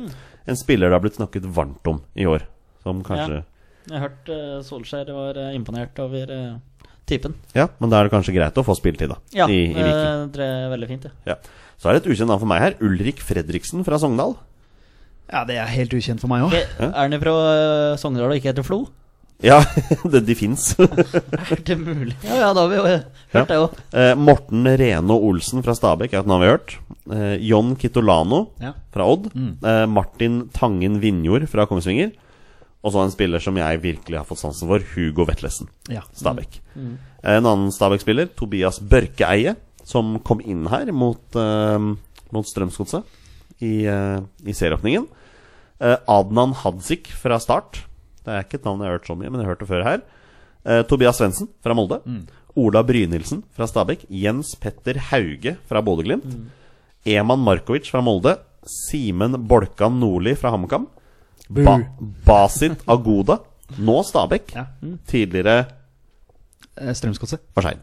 En spiller det har blitt snakket varmt om i år, som kanskje
Jeg har hørt eh, Solskjær var eh, imponert over eh, typen.
Ja, men da er det kanskje greit å få spilletid, da.
Ja,
I, i
eh,
Viking.
det er veldig fint, det.
Ja. Så er det et ukjent navn for meg her. Ulrik Fredriksen fra Sogndal.
Ja, det er helt ukjent for meg òg.
Ok, Er han fra eh, Sogndal og ikke heter Flo?
Ja, (laughs) det, de fins.
Er det mulig? Ja, ja, da har vi jo eh,
Ja.
hørt det òg.
Eh, Morten Reno Olsen fra Stabekk er et navn vi har hørt. Eh, John Kitolano
Ja.
fra Odd. Eh, Martin Tangen Vinjord fra Kongsvinger. Og så en spiller som jeg virkelig har fått sansen for, Hugo Vetlesen.
Ja.
Stabekk. Eh, En annen Stabekk-spiller, Tobias Børkeeie, som kom inn her mot, eh, mot Strømsgodset i, eh, i serieåpningen. Eh, Adnan Hadzik fra Start. Det er ikke et navn jeg har hørt så mye, men jeg har hørt det før her. Eh, Tobias Svendsen fra Molde. Ola Brynildsen fra Stabekk. Jens Petter Hauge fra Bodø-Glimt. Eman Markovic fra Molde. Simen Bolkan Nordli fra HamKam. Ba Basit Agoda, nå Stabekk.
Ja.
Tidligere
Eh, Strømsgodset.
Varsein.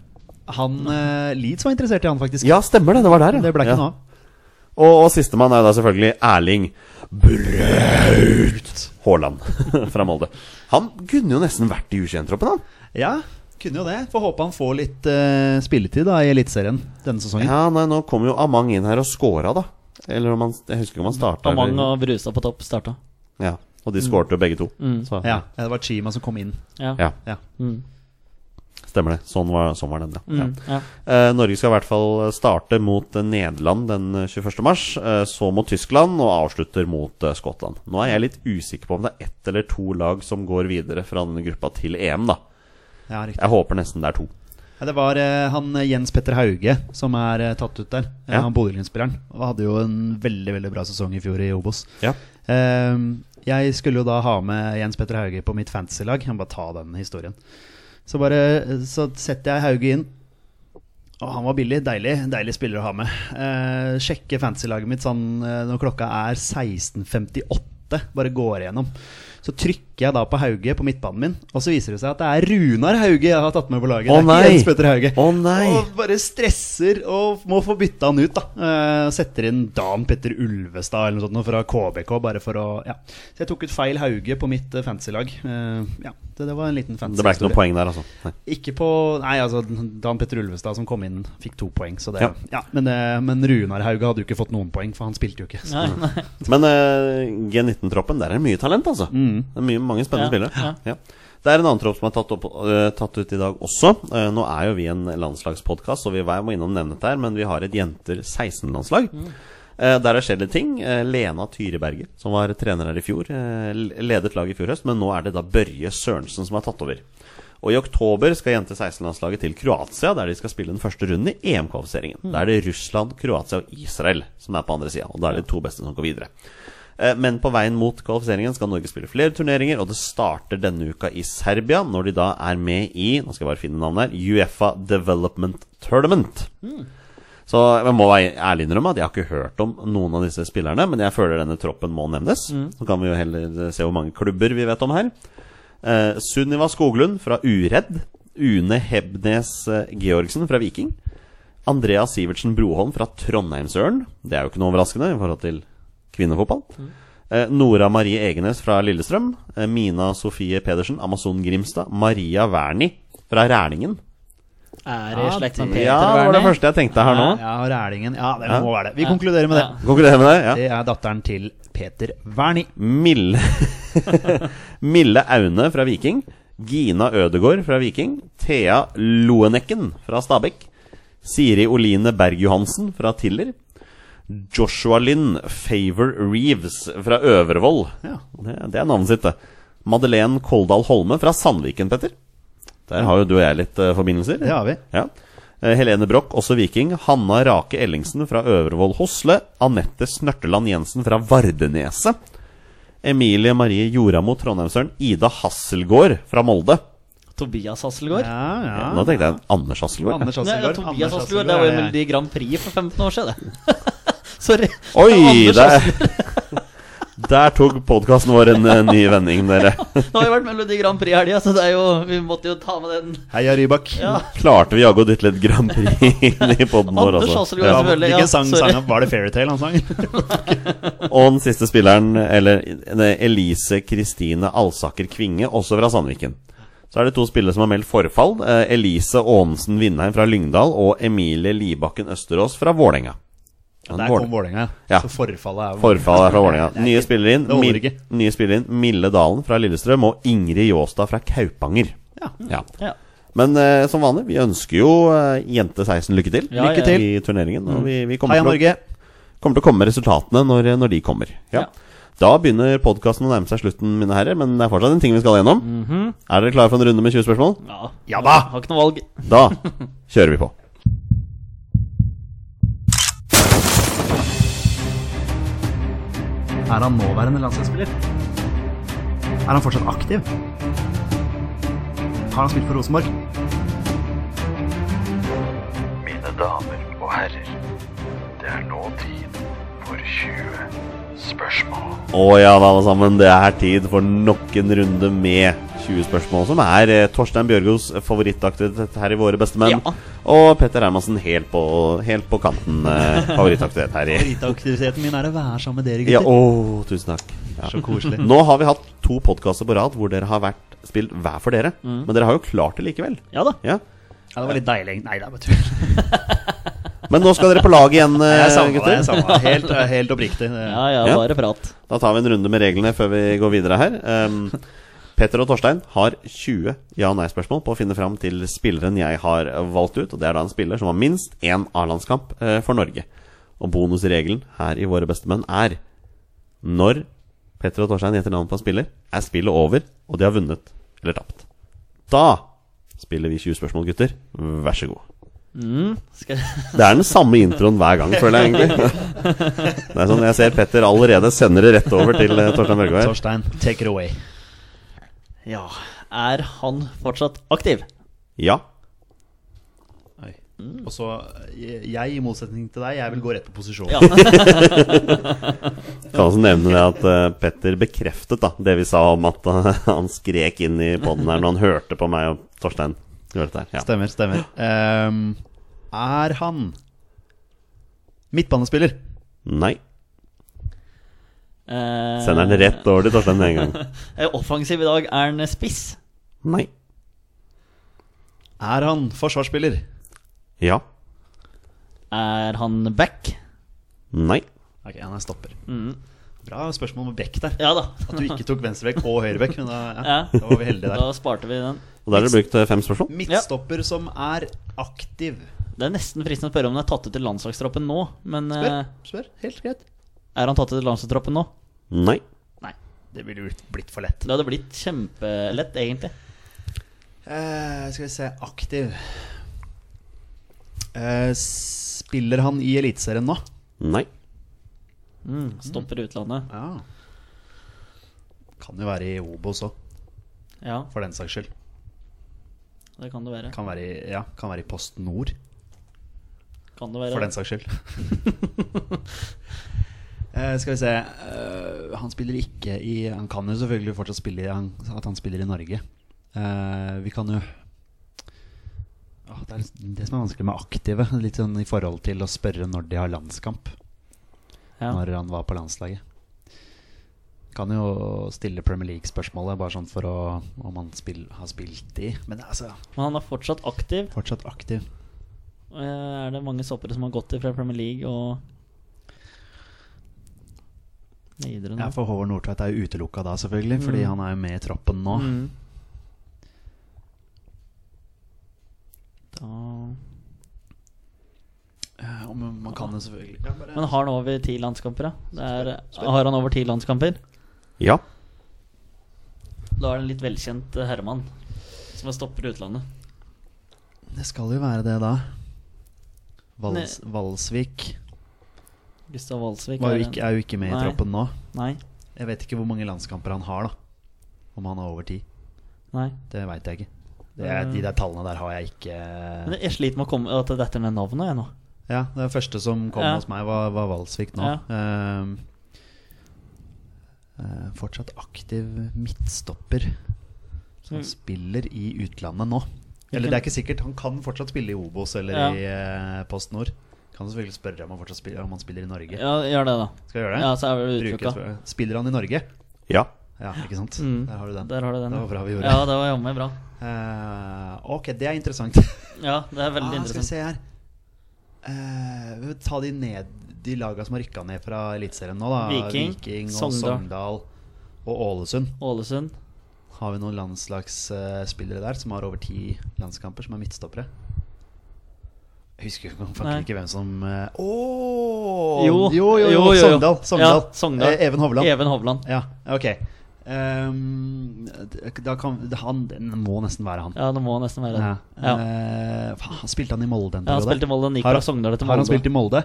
Han eh, Leeds var interessert i han, faktisk.
Ja, stemmer det. Det var der, ja.
Det ble ikke
ja.
noe av.
Og, og sistemann er da selvfølgelig Erling Braut Haaland (laughs) fra Molde. Han kunne jo nesten vært i U21-troppen, han.
Ja, kunne jo det. Får håpe han får litt eh, spilletid da i Eliteserien denne sesongen.
Ja, nei, nå kom jo Amang inn her og scora, da. Eller om han Jeg husker ikke om han starta.
Amang
eller-
og Brustad på topp starta.
Ja, og de skårte jo begge to. Så,
Ja. det var Chima som kom inn.
Mm. Ja.
ja,
Ja.
Mm.
stemmer det. Sånn var, sånn var den, ja. ja.
Mm. ja.
Eh, Norge skal i hvert fall starte mot eh, Nederland den eh, 21. mars. eh, Så mot Tyskland, og avslutter mot eh, Skottland. Nå er jeg litt usikker på om det er ett eller to lag som går videre fra denne gruppa til EM, da.
Ja, riktig.
Jeg håper nesten det er to.
Ja, det var eh, han eh, Jens Petter Hauge som er eh, tatt ut der. Eh,
Ja.
Han Bodø-Glimt-spilleren. Og Hadde jo en veldig veldig bra sesong i fjor i Obos.
Ja.
Eh, jeg skulle jo da ha med Jens Petter Hauge på mitt fantasy-lag. Jeg må bare ta den historien. Så bare eh, Så setter jeg Hauge inn. Og han var billig. Deilig deilig spiller å ha med. Eh, sjekke fantasy-laget mitt sånn eh, når klokka er 16.58. Bare går igjennom. Så trykker jeg da på Hauge på midtbanen min, og så viser det seg at det er Runar Hauge jeg har tatt med på laget.
Å,
det er
nei.
ikke Jens Petter Hauge.
Å, nei.
Og bare stresser og må få bytta han ut, da. Eh, setter inn Dan Petter Ulvestad eller noe sånt nå fra KBK, bare for å Ja. Så jeg tok ut feil Hauge på mitt eh, fantasy-lag. Eh, ja, det, det var en liten fantasy
Det ble ikke noe poeng der, altså. Nei.
Ikke på Nei, altså, Dan Petter Ulvestad som kom inn, fikk to poeng, så det
Ja.
Ja, men, eh, men Runar Hauge hadde jo ikke fått noen poeng, for han spilte jo ikke. Så.
Nei, nei.
Men eh, G19-troppen, der er det mye talent, altså. Det er mye, mange spennende
Ja,
spillere. Ja. Det er en annen tropp som er tatt, opp, eh, tatt ut i dag også. Eh, nå er jo vi en landslagspodkast, så vi jeg må innom nevne dette her, men vi har et jenter 16-landslag. Eh, der har skjedd litt ting. Eh, Lena Tyreberget, som var trener her i fjor, eh, ledet laget i fjor høst, men nå er det da Børje Sørensen som har tatt over. Og i oktober skal jente 16-landslaget til Kroatia, der de skal spille den første runden i EM-kvalifiseringen. Da er det Russland, Kroatia og Israel som er på andre sida, og da er det de to beste som går videre. Eh, Men på veien mot kvalifiseringen skal Norge spille flere turneringer, og det starter denne uka i Serbia, når de da er med i nå skal jeg bare finne navnet her, Uefa Development Tournament. Så jeg må være ærlig innrømme at jeg har ikke hørt om noen av disse spillerne, men jeg føler denne troppen må nevnes. Så kan vi jo heller eh, se hvor mange klubber vi vet om her. Eh, Sunniva Skoglund fra Uredd. Une Hebnes eh, Georgsen fra Viking. Andrea Sivertsen Broholm fra Trondheimsøren. Det er jo ikke noe overraskende i forhold til kvinnefotball. Eh, Nora Marie Egenes fra Lillestrøm. Eh, Mina Sofie Pedersen, Amazon Grimstad. Maria Wernie fra Rælingen.
Er i slekt med Peter
Ja, det var det
Werner.
første jeg tenkte her nå.
Ja, og Rælingen. Ja, det
Ja.
må være det. Vi konkluderer med det.
Ja.
Konkluderer med det? Ja.
Det er datteren til Peter Wernie.
Mille Mille (laughs) Aune fra Viking. Gina Ødegård fra Viking. Thea Loenecken fra Stabekk. Siri Oline Berg-Johansen fra Tiller. Joshua Lynn Favor Reeves fra Øvervoll.
Ja.
Det, det er navnet sitt, det. Madeleine Koldal Holme fra Sandviken, Petter. Der har jo du og jeg litt eh, forbindelser.
Det har vi.
Ja. Eh, Helene Broch, også viking. Hanna Rake Ellingsen fra Øvrevoll Hosle. Anette Snørteland Jensen fra Vardeneset. Emilie Marie Joramo Trondheimsøren. Ida Hasselgaard fra Molde.
Tobias Hasselgaard.
Ja, ja.
Nå tenkte jeg Anders Hasselgaard.
Ah. Anders
Nei,
Hasselgaard.
Tobias
Anders
Hasselgaard. Det var jo
ja, ja.
Melodi Grand Prix for 15 år siden, (laughs) det. Sorry.
Oi!
Anders
Der, (laughs) der tok podkasten vår en eh, ny vending, dere.
Nå har jo vært Melodi Grand Prix i helga, så det er jo, vi måtte jo ta med den.
Heia Rybak.
Ja.
Klarte vi jaggu dytte litt Grand Prix inn i poden vår,
Anders
altså.
Hasselgaard, selvfølgelig. Ja,
Hvilken sang
sorry.
sang han? Var det Fairytale han sang?
Og den siste spilleren, eller nei, Elise Kristine Alsaker Kvinge, også fra Sandviken. Så er det to spillere som har meldt forfall. eh, Elise Aanesen Vindheim fra Lyngdal og Emilie Libakken Østerås fra Vålerenga.
Der kom Vålerenga.
Ja.
Så forfallet er jo
Forfall er fra Vålerenga. Nye spillere inn.
det holder
Mil-
ikke.
Nye spillere inn Mille Dalen fra Lillestrøm og Ingrid Jåstad fra Kaupanger.
Ja.
Ja.
Ja.
Men eh, som vanlig, vi ønsker jo eh, Jente 16 lykke til,
Ja, Mm. Lykke ja.
til.
i turneringen. Og vi, vi kommer
Heia
til å-
Norge.
kommer til å komme resultatene når, når de kommer. Ja.
Ja.
Da begynner podkasten å nærme seg slutten, mine herrer, men det er fortsatt en ting vi skal gjennom.
Mhm.
Er dere klare for en runde med 20 spørsmål?
Ja.
Ja da!
Har ikke noe valg.
Da kjører vi på.
Er han nåværende landslagsspiller? Er han fortsatt aktiv? Har han spilt for Rosenborg?
Mine damer og herrer, det er nå tid for 20 spørsmål.
Å ja da, alle sammen. Det er tid for nok en runde med 20 spørsmål, som er eh, Torstein Bjørgos favorittaktivitet her i Våre beste menn.
Ja.
Og Petter Hermansen helt på, helt på kanten eh, favorittaktivitet her i
Aktiviteten min er å være sammen med dere,
Ja, å, tusen takk. Ja.
Så koselig.
Nå har vi hatt to podkaster på rad hvor dere har vært spilt hver for dere.
Mm.
Men dere har jo klart det likevel.
Ja da.
Ja.
Ja, det var litt deilig. Nei, det er bare tull.
Men nå skal dere på lag igjen, eh,
Jeg savna det.
gutter.
jeg savna det. Helt, eh, helt oppriktig.
Ja, ja,
Ja.
bare prat.
Da tar vi en runde med reglene før vi går videre her. Ehm, Petter og Torstein har 20 ja- og nei-spørsmål på å finne fram til spilleren jeg har valgt ut. Og Det er da en spiller som har minst én A-landskamp eh, for Norge. Og bonusregelen her i Våre bestemenn er når Petter og Torstein gjetter navn på en spiller, er spillet over, og de har vunnet eller tapt. Da spiller vi 20 spørsmål, gutter. Vær så god.
Skal...
Det er den samme introen hver gang, føler jeg egentlig. Det er sånn, Jeg ser Petter allerede sender det rett over til eh, Torstein Børge her.
Torstein, take it away.
(laughs) Ja Er han fortsatt aktiv?
Ja.
Og så jeg, jeg, i motsetning til deg, jeg vil gå rett på posisjon.
Ja.
Kan også nevne det at eh, Petter bekreftet da det vi sa om at eh, (laughs) han skrek inn i poden her når han hørte på meg og Torstein. Gjør dette her. Ja.
Stemmer, stemmer. Ehm, er han midtbanespiller?
Nei.
Eh,
Sender han rett over til Torstein med en gang.
eh, Offensiv i dag, er han spiss?
Nei.
Er han forsvarsspiller?
Ja.
Er han back?
Nei.
Ok, han er stopper.
Mm.
Bra spørsmål med Beck der.
Ja da.
At du
(laughs)
ikke tok venstrebekk og høyrebekk. Men da, ja,
Ja.
da var vi heldige
Da
der.
sparte vi den.
Og der er det brukt eh, fem spørsmål.
Midtstopper som er aktiv.
Det er nesten fristende å spørre om han er tatt ut til landslagstroppen nå, men
Spør,
eh,
spør. Helt greit.
er han tatt ut til landslagstroppen nå?
Nei.
Nei.
Det ville jo blitt for lett.
Det hadde blitt kjempelett, egentlig.
Eh, skal vi se Aktiv. Eh, spiller han i Eliteserien nå?
Nei.
Mm, stopper i utlandet.
Ja. Kan jo være i Obos òg,
Ja,
for den saks skyld.
det kan det være.
Kan være i, ja, kan være i Post Nord,
Kan det være.
for den saks skyld. (laughs) Eh, skal vi se eh, Han spiller ikke i Han kan jo selvfølgelig fortsatt spille i han, at han spiller i Norge. Eh, vi kan jo Åh, det er det som er vanskelig med aktive, litt sånn i forhold til å spørre når de har landskamp.
Ja.
Når han var på landslaget. Kan jo stille Premier League-spørsmålet, bare sånn for å, om han spill, har spilt i. Men altså,
Men han er fortsatt aktiv.
fortsatt aktiv.
og, eh, Er det mange stoppere som har gått fra Premier League og videre nå?
Ja, Mm. for Håvard Nordtveit er jo utelukka da, selvfølgelig, fordi han er jo med i troppen nå.
Mm. Da
Eh, og men man kan jo selvfølgelig ja, bare,
Men har han over ti landskamper, da? Det er, har han over ti landskamper?
Ja.
Da er det en litt velkjent eh, herremann som har stopper i utlandet.
Det skal jo være det, da. Vals, Valsvik
Gustav Walsvik
var
er
jo
en-
ikke, er jo ikke med i
Nei.
troppen nå.
Nei.
Jeg vet ikke hvor mange landskamper han har, da. Om han har over ti.
Nei.
Det veit jeg ikke. Det er, de der tallene der har jeg ikke eh,
Men jeg sliter med å komme at det detter ned navnet, jeg nå.
Ja, det første som kom
Ja.
hos meg, var, var Valsvik nå. Ehm, eh, fortsatt aktiv midtstopper som
Mm.
spiller i utlandet nå. Eller det er ikke sikkert. Han kan fortsatt spille i Obos eller
Ja.
i eh, Post Nord. Kan selvfølgelig spørre om han fortsatt spiller, om han spiller i Norge.
Ja, gjør det, da.
Skal jeg gjøre det?
Ja, så er vi
Bruke et
utelukka.
spør- Spiller han i Norge?
Ja.
Ja, ikke sant? Der har du den.
Mm. Der har du den.
Det
ja.
var bra vi gjorde.
Ja, det var jammen bra.
Eh, ok, det er interessant. (laughs)
Ja, det er veldig
Ah, skal vi
interessant.
se her Eh, vi vil Ta de ned De laga som har rykka ned fra Eliteserien nå, da.
Viking,
og
Sogndal.
Sogndal. og Ålesund.
Ålesund.
Har vi noen landslagsspillere der som har over ti landskamper, som er midtstoppere? Jeg husker jo faktisk
Nei.
ikke hvem som Å!
Jo,
jo, jo, jo,
jo, jo.
Sogndal. Sogndal.
Ja, Sogndal.
Eh, Even Hovland.
Even Hovland.
Ja, ok. Ehm, da kan, han den må nesten være han.
Ja, det må nesten være det.
Ja.
Ja.
Eh, faen, han spilte han i Molde en
Ja, han
periode?
spilte i Molde, han gikk
Har
fra Sogndal til
Har han
Molde.
spilt i Molde?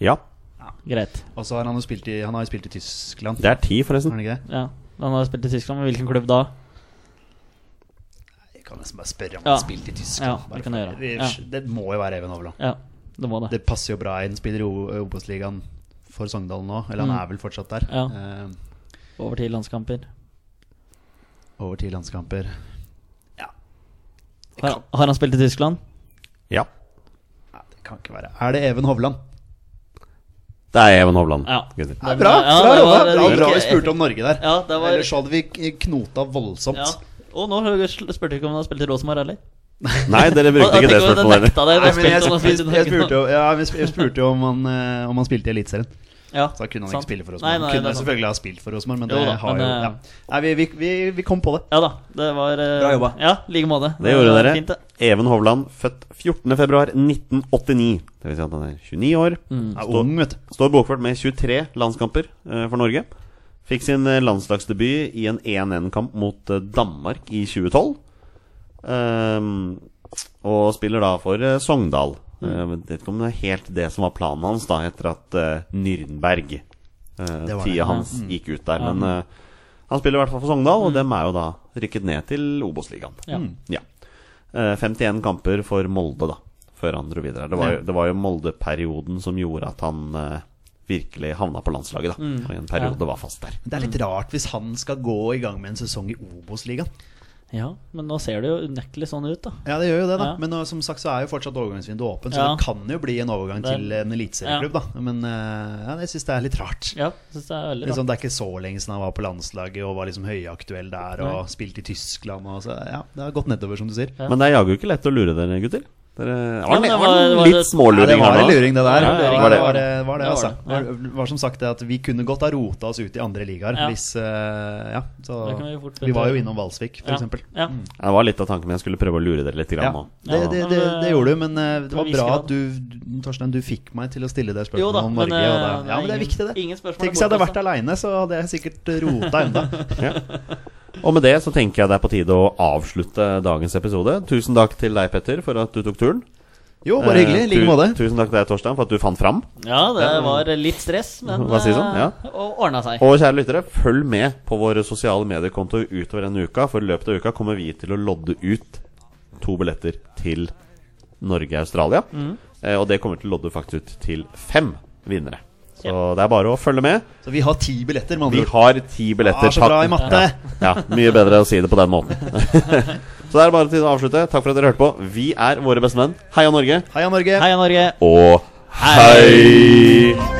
Ja.
Greit.
Og så har han jo spilt i, han har jo spilt i Tyskland.
Det er ti,
Har han
forresten.
ikke det?
Ja. Han har spilt i Tyskland, men hvilken klubb da?
Jeg kan nesten bare spørre om
Ja.
han har spilt i Tyskland.
Ja, det
Bare
kan jeg
for-
gjøre.
vi-
Ja.
Det må jo være Even Hovland.
Ja, det må det.
Det passer jo bra inn. Spiller i O- Obos-ligaen for Sogndal nå. Eller han
Mm.
er vel fortsatt der.
Ja.
Eh,
Over til landskamper.
over ti landskamper.
Har, har han spilt i Tyskland?
Ja.
Nei, det kan ikke være. Er det Even Hovland?
Det er Even Hovland.
Ja.
gutter.
Nei,
Den-
bra!
ja,
bra,
det
jobba.
var-
bra,
det
bra
gikk-
vi spurte om Norge der.
Ja, det var-
Ellers hadde vi knota voldsomt.
Ja. Og nå hø- spurte vi ikke om han spilte i Rosenborg heller.
Nei, dere
(laughs)
brukte ikke det spørsmålet heller.
Nei, men jeg,
heller.
jeg, jeg, spurte, jo- ja, men jeg spurte jo om han, eh, om han spilte i Eliteserien.
Ja,
Så da kunne han
sant.
ikke spille for
Nei,
Rosenborg.
nei,
Han kunne
det er sant.
selvfølgelig ha spilt for Rosenborg, men
Jo
det
da,
har
men,
jo
eh,
ja. Nei, vi, vi, vi, vi kom på det.
Ja da, det var eh,
Bra jobba.
Ja, i like måte.
(laughs) Det gjorde
var
dere.
Fint, det.
Even Hovland, født 14.2.1989. Det vil si at han er 29 år.
Han er
Står-
ung, vet du.
Står bokført med 23 landskamper eh, for Norge. Fikk sin eh, landslagsdebut i en 1-1-kamp mot eh, Danmark i 2012. Ehm, og spiller da for eh, Sogndal.
Mm.
Eh, men vet ikke om det er helt det som var planen hans da etter at eh, Nürnberg eh,
Det Mm. var det,
Tida
ja.
hans gikk ut der. Men eh, han spiller i hvert fall for Sogndal,
Mm.
og dem er jo da rykket ned til Obos-ligaen.
Ja. Mm.
Ja. Eh, 51 kamper for Molde, da, før han dro videre. Det var, jo- det var jo Molde-perioden som gjorde at han eh, virkelig havna på landslaget, da.
Mm.
Og i en periode var fast der.
Men Det er litt
Mm.
rart hvis han skal gå i gang med en sesong i Obos-ligaen.
Ja, men nå ser det jo unektelig sånn ut, da.
Ja, det gjør jo det, da.
Ja.
Men nå, som sagt så er jo fortsatt overgangsvinduet åpent, så
Ja.
det kan jo bli en overgang
Det-
til en eliteserieklubb, da. Men eh, ja, jeg syns det er litt rart.
Ja, synes det er veldig rart.
Liksom, det er ikke så lenge siden han var på landslaget og var liksom høyaktuell der og spilte i Tyskland. Og så, ja, det har gått nedover, som du sier.
Ja.
Men det er jaggu ikke lett å lure dere, gutter. Dere, det var,
men
det
det
var,
var- det var-
litt
Ja, det
småluring
var
her
en
nå.
luring, det der.
Ja,
det
var det.
var det, var det,
Det var
altså.
det, ja.
Det var som sagt det at vi kunne godt ha rota oss ut i andre ligaer
Ja.
hvis eh, Ja,
Det kan vi
så
fort
Vi var jo
gjøre.
innom Valsvik, for
Ja.
eksempel. Mm.
Ja.
Det var litt av tanken min. Jeg skulle prøve å lure dere litt grann
Ja,
nå.
det, det, det, det gjorde du, men eh, det
Men
var
vi
bra
skal-
at du du- Torstein, du fikk meg til å stille det
Jo da,
spørsmålet om Norge.
eh,
og det, ja, men det er
ingen-
viktig, det.
Ingen spørsmål. er
Tenk hvis jeg hadde vært
bortkastet.
aleine, så hadde jeg sikkert rota
(laughs)
enda.
Og med det så tenker jeg det er på tide å avslutte dagens episode. Tusen takk til deg, Petter, for at du tok turen.
Jo, bare
Eh,
hyggelig. I
tu-
like måte.
Tusen takk til deg, Torstein, for at du fant fram.
Ja, det var litt stress, men
Hva sier sånn? Ja.
eh, Og ordna seg.
Og kjære lyttere, følg med på våre sosiale mediekontoer utover denne uka, for i løpet av uka kommer vi til å lodde ut to billetter til Norge-Australia. Eh, og det kommer til å lodde faktisk ut til fem vinnere. Så det er bare å følge med.
Så vi har ti billetter, med andre
Vi
ord.
har ti billetter.
Ah, så bra i
Takk.
matte!
Ja, mye bedre å si det på den måten. (laughs) så det er bare til å avslutte. Takk for at dere hørte på. Vi er våre beste menn. Heia Norge,
Heia Norge!
Heia Norge.
og hei!